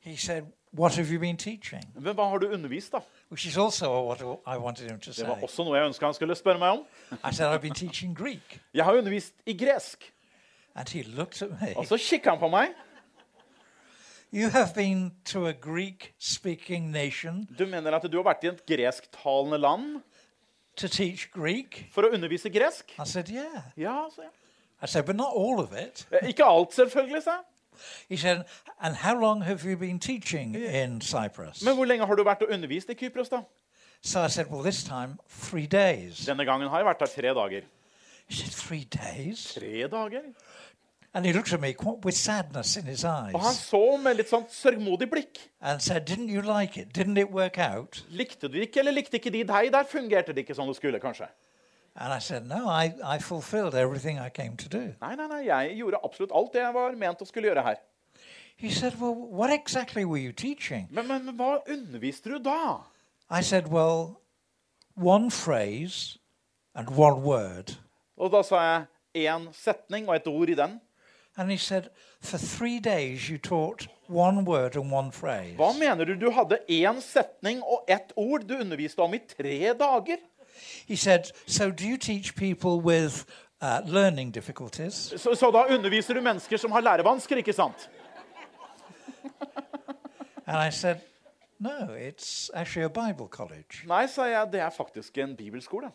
B: He said, What have you been teaching?
C: Men hva har du undervist, da?
B: which is also what I wanted him to
C: Det var
B: say.
C: også noe jeg ønska han skulle spørre meg om.
B: I said, I've been teaching Greek.
C: Jeg har undervist i gresk.
B: And he looked at me.
C: Og så kikka han på meg.
B: You have been to a Greek speaking nation
C: Du mener at du har vært i et gresktalende land
B: to teach Greek?
C: for å undervise gresk?
B: I said, Yeah.
C: Ja, sa jeg.
B: I said, But not all of it.
C: Eh, Ikke alt, selvfølgelig, sa jeg.
B: He said, And how long have you been teaching in Cyprus?
C: Men hvor lenge har du vært og undervist i Kypros, da?
B: So I said, Well, this time, three days.
C: Denne gangen har jeg vært her tre dager.
B: He said, Three days?
C: Tre dager?
B: And he looked at me qu- with sadness in his
C: Og han
B: eyes
C: så med litt sånn sørgmodig blikk.
B: and said, Didn't you like it? Didn't it work out?
C: Likte du ikke, eller likte ikke de deg? Der fungerte det ikke som det skulle, kanskje.
B: And I said, No, I, I fulfilled everything I came to do.
C: Nei, nei, nei, jeg gjorde absolutt alt det jeg var ment å skulle gjøre her.
B: He said, Well, what exactly were you teaching?
C: Men, men, men hva underviste du da?
B: I said, Well, one phrase and one word.
C: Og da sa jeg én setning og et ord i den.
B: And he said, For three days you taught one word and one phrase.
C: Hva mener du? Du hadde én setning og ett ord du underviste om i tre dager.
B: He said, So do you teach people with uh, learning difficulties?
C: Så, så da underviser du mennesker som har lærevansker, ikke sant?
B: And I said, No, it's actually a Bible college.
C: Nei, sa jeg, det er faktisk en bibelskole.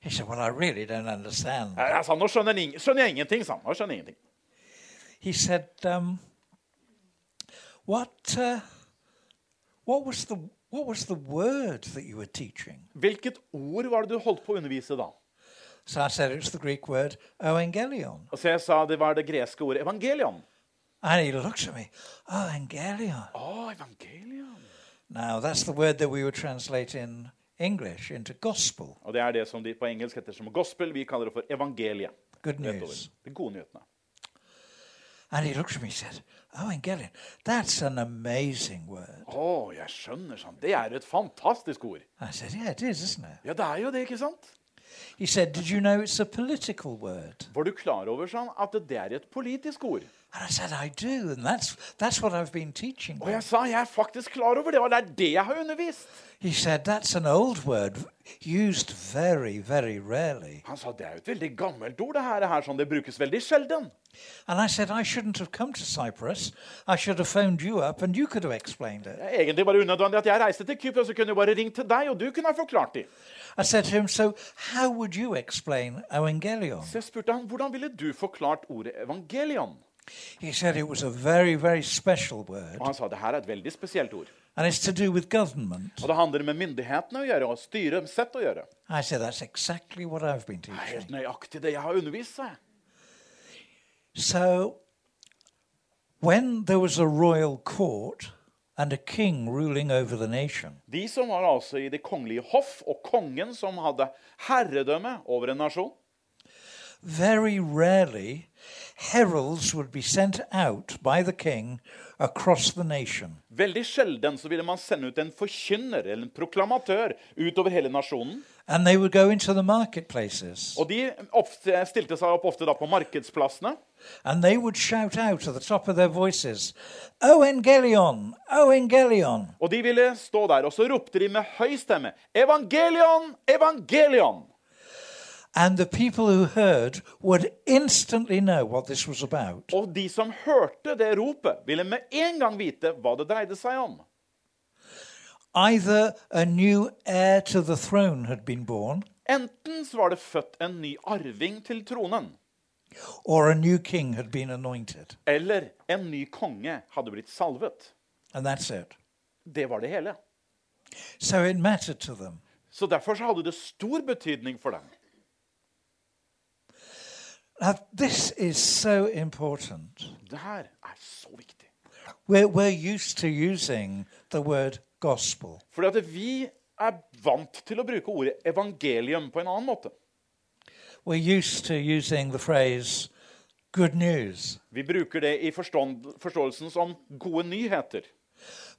B: He said, Well, I really don't understand.
C: Jeg, jeg sa, nå skjønner jeg, ing- skjønner jeg ingenting, sa han. Nå skjønner jeg ingenting.
B: He said, um, what, uh, what, was the, what was the word that you were teaching?
C: Hvilket ord var det du holdt på å undervise da?
B: So I said, It's the Greek word evangelion.
C: Og så jeg sa det var det greske ordet evangelion.
B: And he looks at me, Oh, evangelion.
C: Å, evangelion.
B: Now, that's the word that we would translate in English into gospel,
C: Og det er det som de på engelsk heter som gospel. Vi kaller det for evangeliet.
B: good
C: Rett over.
B: news.
C: De gode nyhetene.
B: And he looks at me and said, Oh, evangelion, that's an amazing word.
C: Å, jeg skjønner, sånn. Det er et fantastisk ord.
B: I said, Yeah, it is, isn't it?
C: Ja, det er jo det, ikke sant?
B: He said, Did you know it's a political word?
C: Var du klar over sånn, at det er et politisk ord?
B: And I said, I do, and that's that's what I've been teaching.
C: Og
B: them."
C: jeg sa jeg er faktisk klar over det, og det er det jeg har undervist.
B: He said, That's an old word used very, very rarely.
C: Han sa det er jo et veldig gammelt ord, det her, det her sånn, det brukes veldig sjelden.
B: And I said, I shouldn't have come to Cyprus. I should have phoned you up and you could have explained it.
C: Det er egentlig bare unødvendig at jeg reiste til Kypros og kunne jo bare ringt til deg, og du kunne ha forklart det.
B: I said to him, So how would you explain Evangelion?
C: Så jeg spurte han, hvordan ville du forklart ordet evangelion?
B: He said it was a very, very special word
C: Og han sa det her er et veldig spesielt ord.
B: and it's to do with government.
C: Og det handler med myndighetene å gjøre, og styresett å gjøre.
B: I said, That's exactly what I've been
C: Det er helt
B: teaching.
C: nøyaktig det jeg har undervist, sa jeg.
B: So when there was a royal court and a king ruling over the nation,
C: De som var altså i det kongelige hoff, og kongen som hadde herredømme over en nasjon.
B: Very rarely, heralds would be sent out by the king across the nation.
C: Veldig sjelden så ville man sende ut en forkynner eller en proklamatør utover hele nasjonen.
B: And they would go into the marketplaces
C: Og de ofte, stilte seg opp ofte da på markedsplassene.
B: and they would shout out at the top of their voices, O Evangelion! O Evangelion!
C: Og de ville stå der, og så ropte de med høy stemme Evangelion! Evangelion!
B: And the people who heard would instantly know what this was about.
C: Og de som hørte det ropet, ville med en gang vite hva det dreide seg om.
B: Either a new heir to the throne had been born,
C: Enten så var det født en ny arving til tronen,
B: or a new king had been anointed.
C: eller en ny konge hadde blitt salvet.
B: And that's it.
C: Det var det hele.
B: So it mattered to them.
C: Så derfor så hadde det stor betydning for dem.
B: Now, this is so important.
C: Det her er så viktig.
B: We're, we're used to using the word gospel,
C: Fordi at vi er vant til å bruke ordet evangelium på en annen måte.
B: we're used to using the phrase good news,
C: Vi bruker det i forstånd, forståelsen som gode nyheter.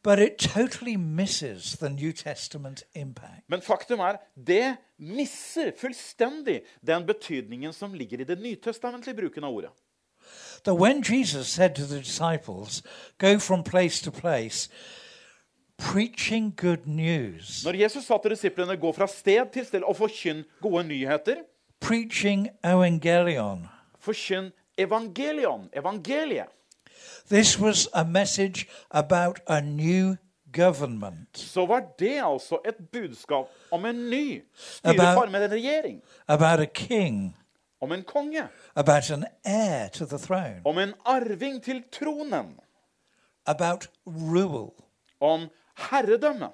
B: but it totally misses the New Testament impact.
C: Men faktum er, det misser fullstendig den betydningen som ligger i det nytestamentlige bruken av ordet.
B: That when Jesus said to the disciples, go from place to place, preaching good news,
C: Når Jesus sa til disiplene 'gå fra sted til sted og forkynn gode nyheter',
B: preaching evangelion,
C: forkynn evangelion, evangeliet,
B: this was a message about a new government.
C: så var det altså et budskap om en ny
B: About-
C: styreform, en regjering,
B: about a king,
C: om en konge,
B: about an heir to the throne,
C: om en arving til tronen,
B: about rule,
C: om herredømme.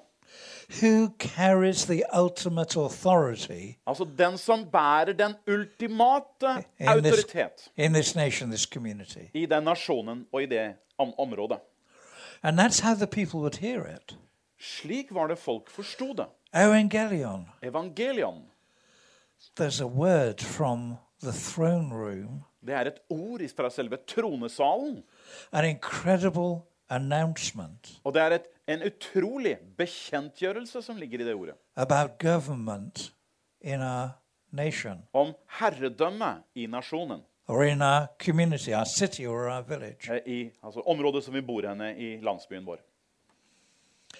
B: who carries the ultimate authority
C: Altså den som bærer den ultimate
B: in this,
C: autoritet
B: in this nation, this community.
C: i den nasjonen og i det om området.
B: And that's how the people would hear it.
C: Slik var det folk forsto det.
B: Evangelion,
C: Evangelion.
B: there's a word from the throne room,
C: Det er et ord fra selve tronesalen.
B: an incredible announcement
C: Og det er et, en utrolig bekjentgjørelse som ligger i det ordet.
B: about government in our nation
C: Om herredømme i nasjonen.
B: or in our community, our city or our village.
C: eh, I altså, området som vi bor henne i landsbyen vår.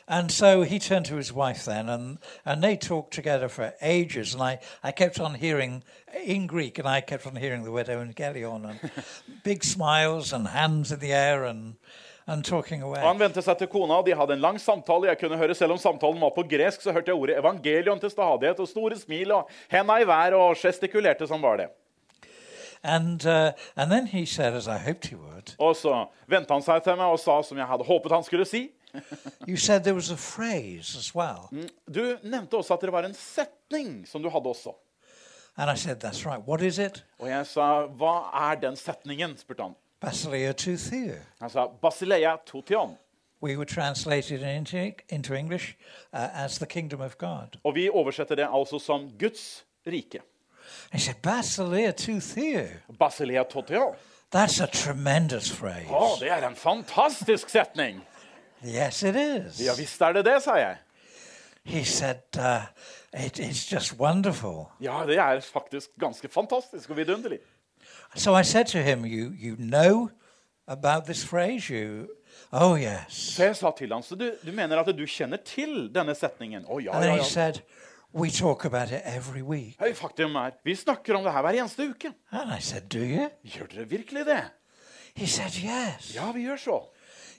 B: And so he turned to his wife then, and, and they talked together for ages. And I, I kept on hearing in Greek, and I kept on hearing the word evangelion, and big smiles and hands in the air and, and talking away.
C: Og han vendte seg til kona, og de hadde en lang samtale. Jeg kunne høre, Selv om samtalen var på gresk, så hørte jeg ordet evangelion til stadighet. Og store smil og henda i været og gestikulerte som var det.
B: And, uh, and then he said, as I hoped he would,
C: Og så vendte han seg til meg og sa som jeg hadde håpet han skulle si.
B: you said there was a phrase as well.
C: Du nevnte også at det var en setning som du hadde også.
B: And I said, that's right. What is it?
C: Og jeg sa, 'Hva er den setningen?' spurte han.
B: Basileia to Theo.
C: Han sa, 'Basileia totion'.
B: We were translated into, into English uh, as the kingdom of God.
C: Og vi oversetter det altså som 'Guds rike'.
B: And he said, Basileia to Theo.
C: Basileia totion.
B: That's a tremendous phrase.
C: Å, det er en fantastisk setning!
B: Yes, it is.
C: Ja visst er det det, sa jeg.
B: He said, uh, it, it's just wonderful.
C: Ja, det er faktisk ganske fantastisk og vidunderlig.
B: So I said to him, you, you know about this phrase? You, oh, yes.
C: Så jeg sa til han, så du, du mener at du kjenner til denne setningen? Å, ja,
B: And
C: ja,
B: then he
C: ja.
B: said, we talk about it every week.
C: Høy, faktum er, vi snakker om det her hver eneste uke.
B: And I said, do you?
C: Gjør dere virkelig det?
B: He said, yes.
C: Ja, vi gjør så.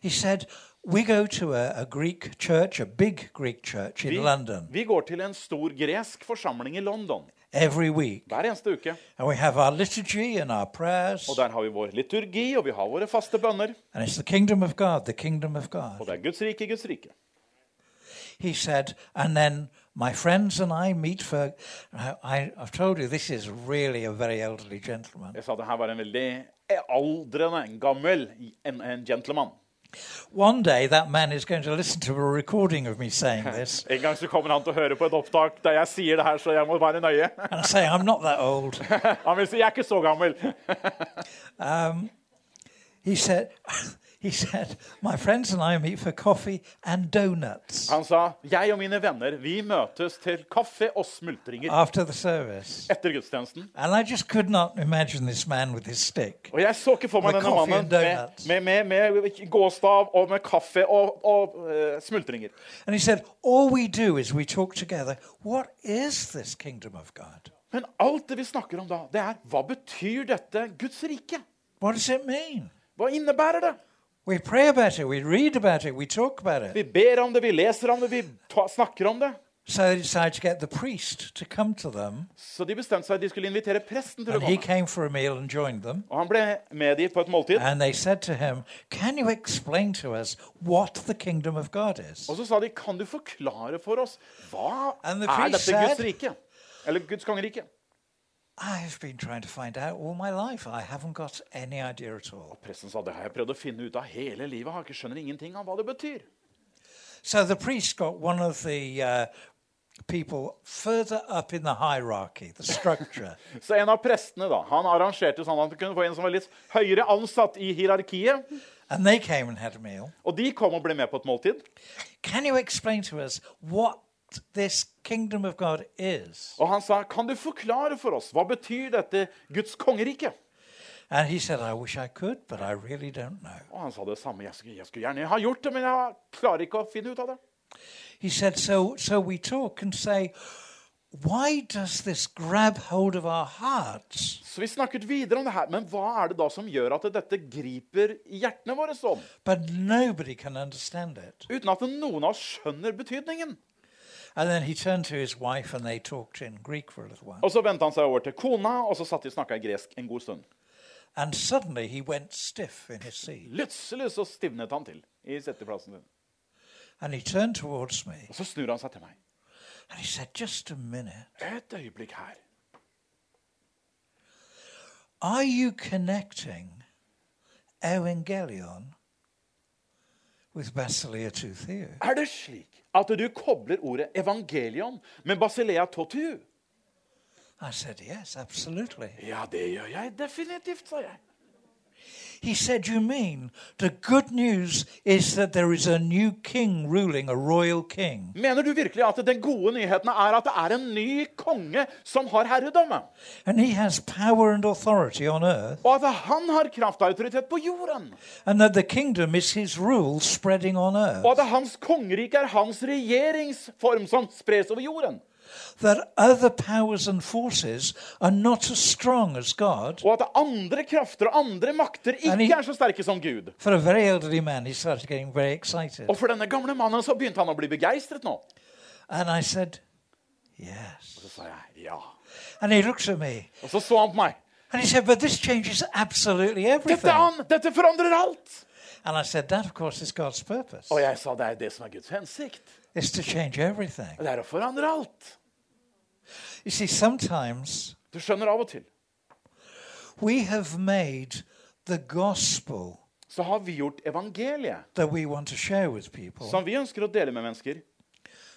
B: He said, we go to a, a Greek church, a big Greek church in
C: Vi,
B: London,
C: vi går til en stor gresk forsamling i London
B: every week.
C: hver eneste uke.
B: And we have our liturgy and our prayers.
C: Og der har vi vår liturgi, og vi har våre faste bønner.
B: And it's the kingdom of God, the kingdom of God.
C: Og det er Guds rike, Guds rike.
B: he said, and then my friends and I meet for. I, I- I've told you this is really a very elderly gentleman.
C: Jeg sa det her var en veldig aldrende, en gammel, en, en gentleman.
B: One day that man is going to listen to a recording of me saying this
C: En gang så kommer han til å høre på et opptak der jeg sier det her, så jeg må være nøye.
B: and say I'm not that old.
C: Han vil si 'jeg er ikke så gammel'.
B: He said, he said, my friends and I meet for coffee and donuts
C: Han sa 'jeg og mine venner, vi møtes til kaffe og smultringer
B: after the service.
C: etter gudstjenesten'.
B: And I just could not imagine this man with his stick.
C: Og jeg så ikke for meg
B: Med
C: denne
B: kaffe
C: mannen
B: og
C: med,
B: donuts.
C: med, med, med gåstav og med kaffe og, og eh, smultringer.
B: And he said, all we do is we talk together. What is this kingdom of God?
C: Men alt det vi snakker om da, det er hva betyr dette Guds rike?
B: What does it mean?
C: Hva innebærer det?
B: We pray about it, we read about it, we talk about it.
C: Vi ber om det, vi leser om det, vi ta, snakker om det.
B: So they decided to get the priest to come to them,
C: Så de bestemte seg at de skulle invitere presten til å
B: and he
C: komme.
B: came for a meal and joined them.
C: Og han ble med de på et måltid.
B: And they said to him, Can you explain to us what the kingdom of God is?
C: Og så sa de, kan du forklare for oss hva
B: And
C: er
B: the priest
C: dette Guds
B: said-
C: rike? Eller Guds kongerike?
B: I've been trying to find out all my life. I haven't got any idea at all.
C: Presten sa, det har jeg prøvd å finne ut av hele livet. Jeg ikke skjønner ingenting av hva det betyr.
B: So the priest got one of the uh, people further up in the hierarchy, the structure.
C: Så en av prestene da, han arrangerte sånn at han kunne få en som var litt høyere ansatt i hierarkiet.
B: and they came and had a meal.
C: Og de kom og ble med på et måltid.
B: Can you explain to us what this kingdom of God is?
C: Og han sa, kan du forklare for oss, hva betyr dette Guds kongerike?
B: And he said, I wish I could, but I really don't know.
C: Og han sa det samme, jeg skulle, jeg skulle gjerne ha gjort det, men jeg klarer ikke å finne ut av det.
B: He said, So, so we talk and say, why does this grab hold of our hearts?
C: Så vi snakket videre om det her, men hva er det da som gjør at dette griper i hjertene våre sånn?
B: But nobody can understand it.
C: Uten at noen av oss skjønner betydningen.
B: And then he turned to his wife and they talked in Greek for a little while.
C: Og så vendte han seg over til kona, og så satt de og snakket gresk en god stund.
B: And suddenly he went stiff in his seat.
C: Lytselig så stivnet han til i setteplassen sin.
B: And he turned towards me
C: Og så snur han seg til meg.
B: and he said, Just a minute.
C: Et øyeblikk her.
B: Are you connecting Evangelion with Basileia to Theo?
C: Er det slik at du kobler ordet evangelion med Basilea totu?
B: I said, Yes, absolutely.
C: Ja, det gjør jeg definitivt, sa jeg.
B: He said, You mean the good news is that there is a new king ruling, a royal king?
C: Mener du virkelig at den gode nyheten er at det er en ny konge som har herredømme?
B: And he has power and authority on earth,
C: Og at han har kraftautoritet på jorden?
B: and that the kingdom is his rule spreading on
C: Og
B: earth.
C: at hans kongerike er hans regjeringsform som spres over jorden?
B: That other powers and forces are not as strong as God.
C: Og at andre krafter og andre makter
B: Nei.
C: ikke er så sterke som Gud?
B: For a very elderly man, he started getting very excited.
C: Og for denne gamle mannen så begynte han å bli begeistret nå.
B: And I said, Yes.
C: Så sa jeg ja.
B: And he looks at me
C: Og så så han på meg.
B: and he said, But this changes absolutely
C: Dette,
B: everything.
C: er han, dette forandrer alt!
B: And I said, That, of course, is God's purpose,
C: Og jeg sa det er det som er Guds hensikt.
B: is to change everything.
C: Det er å forandre alt.
B: You see, sometimes
C: Du skjønner av og til.
B: we have made the gospel
C: Så har vi gjort evangeliet,
B: that we want to share with people
C: som vi ønsker å dele med mennesker.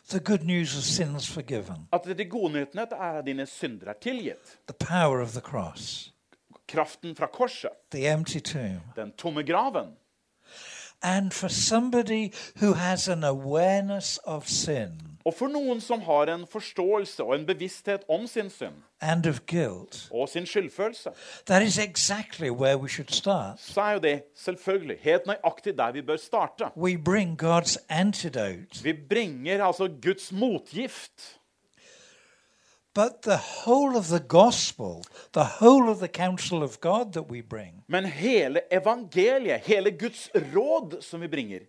B: the good news of sins forgiven,
C: At de gode nyhetene er at dine synder er tilgitt.
B: the power of the cross,
C: Kraften fra korset.
B: the empty tomb.
C: Den tomme graven.
B: And for somebody who has an awareness of sin
C: Og for noen som har en forståelse og en bevissthet om sin synd
B: and of guilt,
C: og sin skyldfølelse,
B: that is exactly where we should start.
C: så er jo det selvfølgelig helt nøyaktig der vi bør starte.
B: We bring God's antidote,
C: Vi bringer altså Guds motgift.
B: but the whole of the gospel, the whole of the counsel of God that we bring,
C: Men hele evangeliet, hele Guds råd som vi bringer,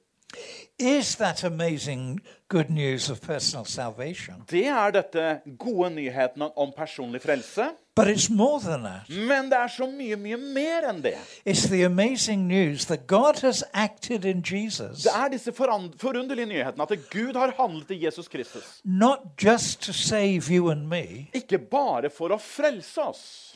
B: is that amazing good news of personal salvation.
C: det er dette gode nyheten om personlig frelse.
B: But it's more than that.
C: Men det er så mye, mye mer enn det.
B: It's the amazing news that God has acted in Jesus,
C: Det er disse foran- forunderlige nyhetene at Gud har handlet i Jesus Kristus.
B: not just to save you and me,
C: Ikke bare for å frelse oss,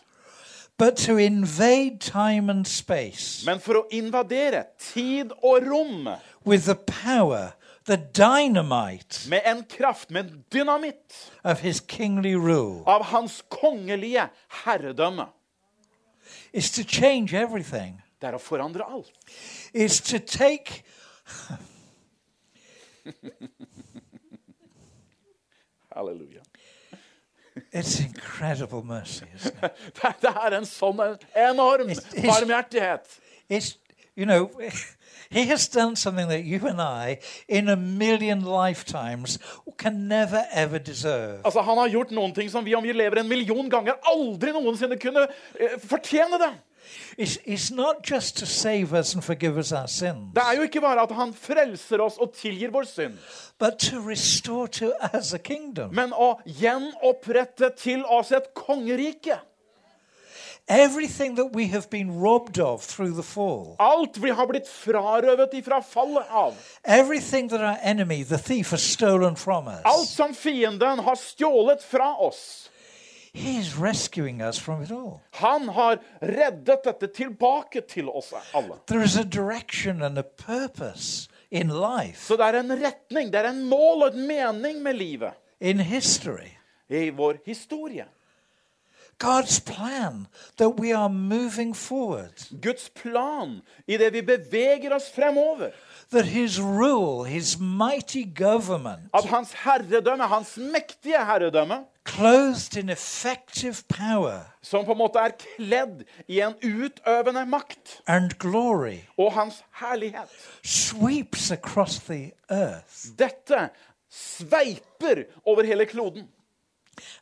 B: but to invade time and space
C: men for å invadere tid og rom
B: with the power, the dynamite
C: med en kraft, med en dynamitt,
B: of his kingly rule.
C: av hans kongelige herredømme.
B: It's to change everything,
C: Det er å forandre alt.
B: it's to take.
C: Halleluja.
B: It's incredible mercy, isn't it?
C: Det det er en sånn enorm barmhjertighet.
B: It's, you know, he has done something that you and I, in a million lifetimes, can never ever deserve.
C: Altså, Han har gjort noen ting som vi om vi lever en million ganger, aldri noensinne kunne eh, fortjene det.
B: It's, it's not just to save us and forgive us our sins,
C: Det er jo ikke bare at han frelser oss og tilgir vår synd,
B: but to restore to us a kingdom.
C: men å gjenopprette til oss et kongerike.
B: Everything that we have been robbed of through the fall,
C: Alt vi har blitt frarøvet ifra fallet av.
B: everything that our enemy, the thief, has stolen from us,
C: Alt som fienden har stjålet fra oss.
B: he is rescuing us from it all.
C: Han har reddet dette tilbake til oss alle.
B: There is a direction and a purpose in life,
C: Så det er en retning, det er en mål og en mening med livet.
B: in history.
C: I vår historie.
B: God's plan that we are moving forward,
C: Guds plan i det vi beveger oss fremover.
B: that his rule, his mighty government,
C: At hans herredømme, hans mektige herredømme,
B: clothed in effective power
C: som på en måte er kledd i en utøvende makt
B: and glory
C: og hans herlighet,
B: sweeps across the earth
C: dette sveiper over hele kloden.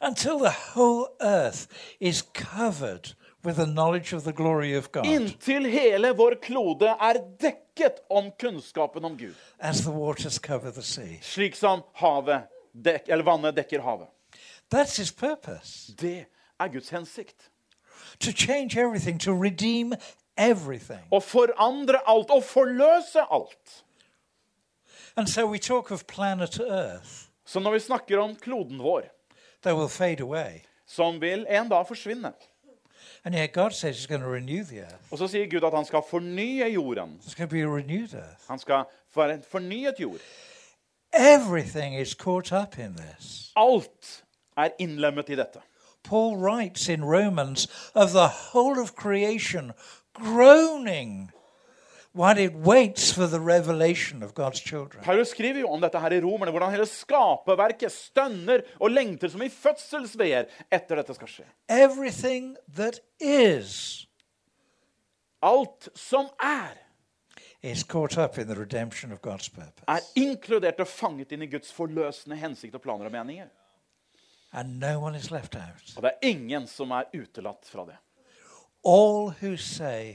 B: until the whole earth is covered with the knowledge of the glory of God
C: Inntil hele vår klode er dekket om kunnskapen om Gud.
B: as the waters cover the sea.
C: Slik som havet dek, eller vannet dekker havet.
B: That's his purpose
C: Det er Guds hensikt.
B: to change everything, to redeem everything.
C: Å forandre alt, å forløse alt.
B: And so we talk of planet Earth
C: Så når vi snakker om kloden vår,
B: that will fade away.
C: som vil en dag forsvinne,
B: And yet God says he's going to renew the earth.
C: og så sier Gud at han skal fornye jorden
B: There's going to be a renewed earth.
C: Han skal være en fornyet jord.
B: Everything is caught up in this.
C: Alt er innlemmet i dette.
B: Paul writes in Romans of the whole of creation groaning while it waits for the revelation of God's children.
C: Paulus skriver jo om dette her i Romerne, hvordan hele skaperverket stønner og lengter som i fødselsveer etter dette skal skje.
B: Everything that is
C: Alt som er,
B: is caught up in the redemption of God's purpose.
C: er inkludert og fanget inn i Guds forløsende hensikt og planer og meninger.
B: And no one is left out.
C: Og det er ingen som er utelatt fra det.
B: All who say,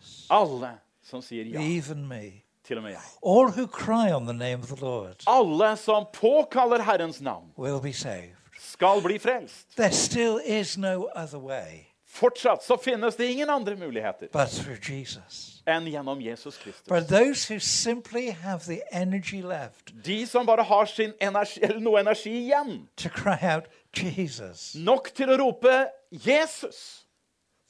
B: Yes,
C: Alle som sier ja,
B: even me.
C: til og med jeg.
B: All who cry on the name of the Lord
C: Alle som påkaller Herrens navn,
B: will be saved.
C: skal bli frelst.
B: There still is no other way
C: Fortsatt så finnes det ingen andre muligheter
B: but through Jesus.
C: enn gjennom Jesus Kristus.
B: But those who simply have the energy left
C: De som bare har sin energi, eller noe energi igjen,
B: to cry out, Jesus,
C: nok til å rope 'Jesus',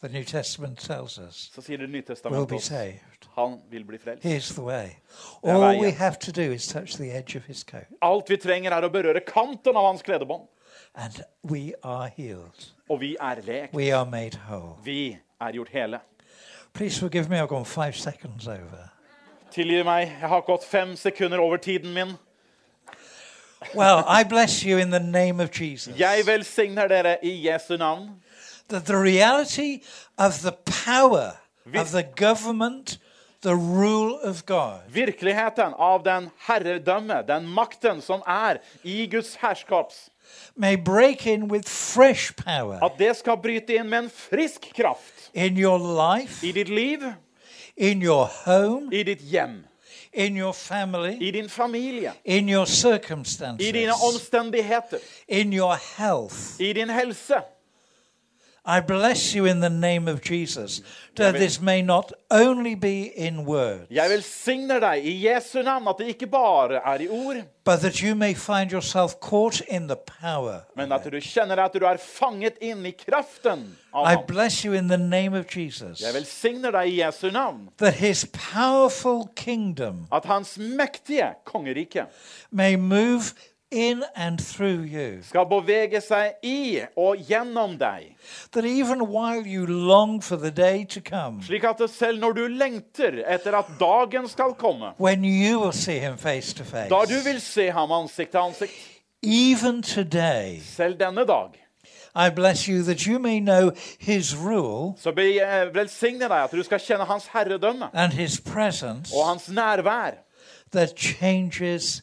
B: the New Testament tells us,
C: så sier Det nye
B: will be
C: testamentet oss.
B: saved.
C: Han vil bli frelst.
B: Here's the way.
C: Yeah,
B: All
C: right,
B: we
C: yeah.
B: have to do is touch the edge of his coat,
C: Alt vi trenger, er å berøre kanten av hans kledebånd.
B: and we are healed.
C: Og vi er lekt.
B: We are made whole.
C: Vi er gjort hele.
B: Please forgive me, I've gone five seconds over.
C: Tilgi meg, jeg har gått fem sekunder over tiden min.
B: Well, I bless you in the name of Jesus.
C: Jeg velsigner dere i Jesu navn.
B: that the reality of the power of the government, the rule of God,
C: Virkeligheten av den herredømme, den makten som er i Guds herskaps,
B: may break in with fresh power
C: at det skal bryte inn med en frisk kraft
B: in your life,
C: i ditt liv,
B: in your home,
C: i ditt hjem,
B: in your family,
C: i din familie,
B: in your
C: i dine
B: circumstances,
C: omstendigheter,
B: in your health.
C: i din helse.
B: I bless you in the name of Jesus that this may not only be in words,
C: Jeg velsigner deg i Jesu navn, at det ikke bare er i ord,
B: but that you may find yourself caught in the power.
C: men at du kjenner at du er fanget inn i kraften av
B: I
C: ham.
B: bless you in the name of Jesus.
C: Jeg velsigner deg i Jesu navn,
B: that his powerful kingdom
C: at hans mektige kongerike
B: may move in and through you.
C: skal bevege seg i og gjennom deg.
B: That even while you long for the day to come,
C: Slik at det selv når du lengter etter at dagen skal komme,
B: when you will see him face to
C: da du
B: face,
C: vil se ham ansikt til ansikt,
B: even today,
C: selv denne dag,
B: I bless you that you may know his rule
C: så be- eh, velsigne deg at du skal kjenne hans herredømme
B: and his presence
C: og hans nærvær,
B: that changes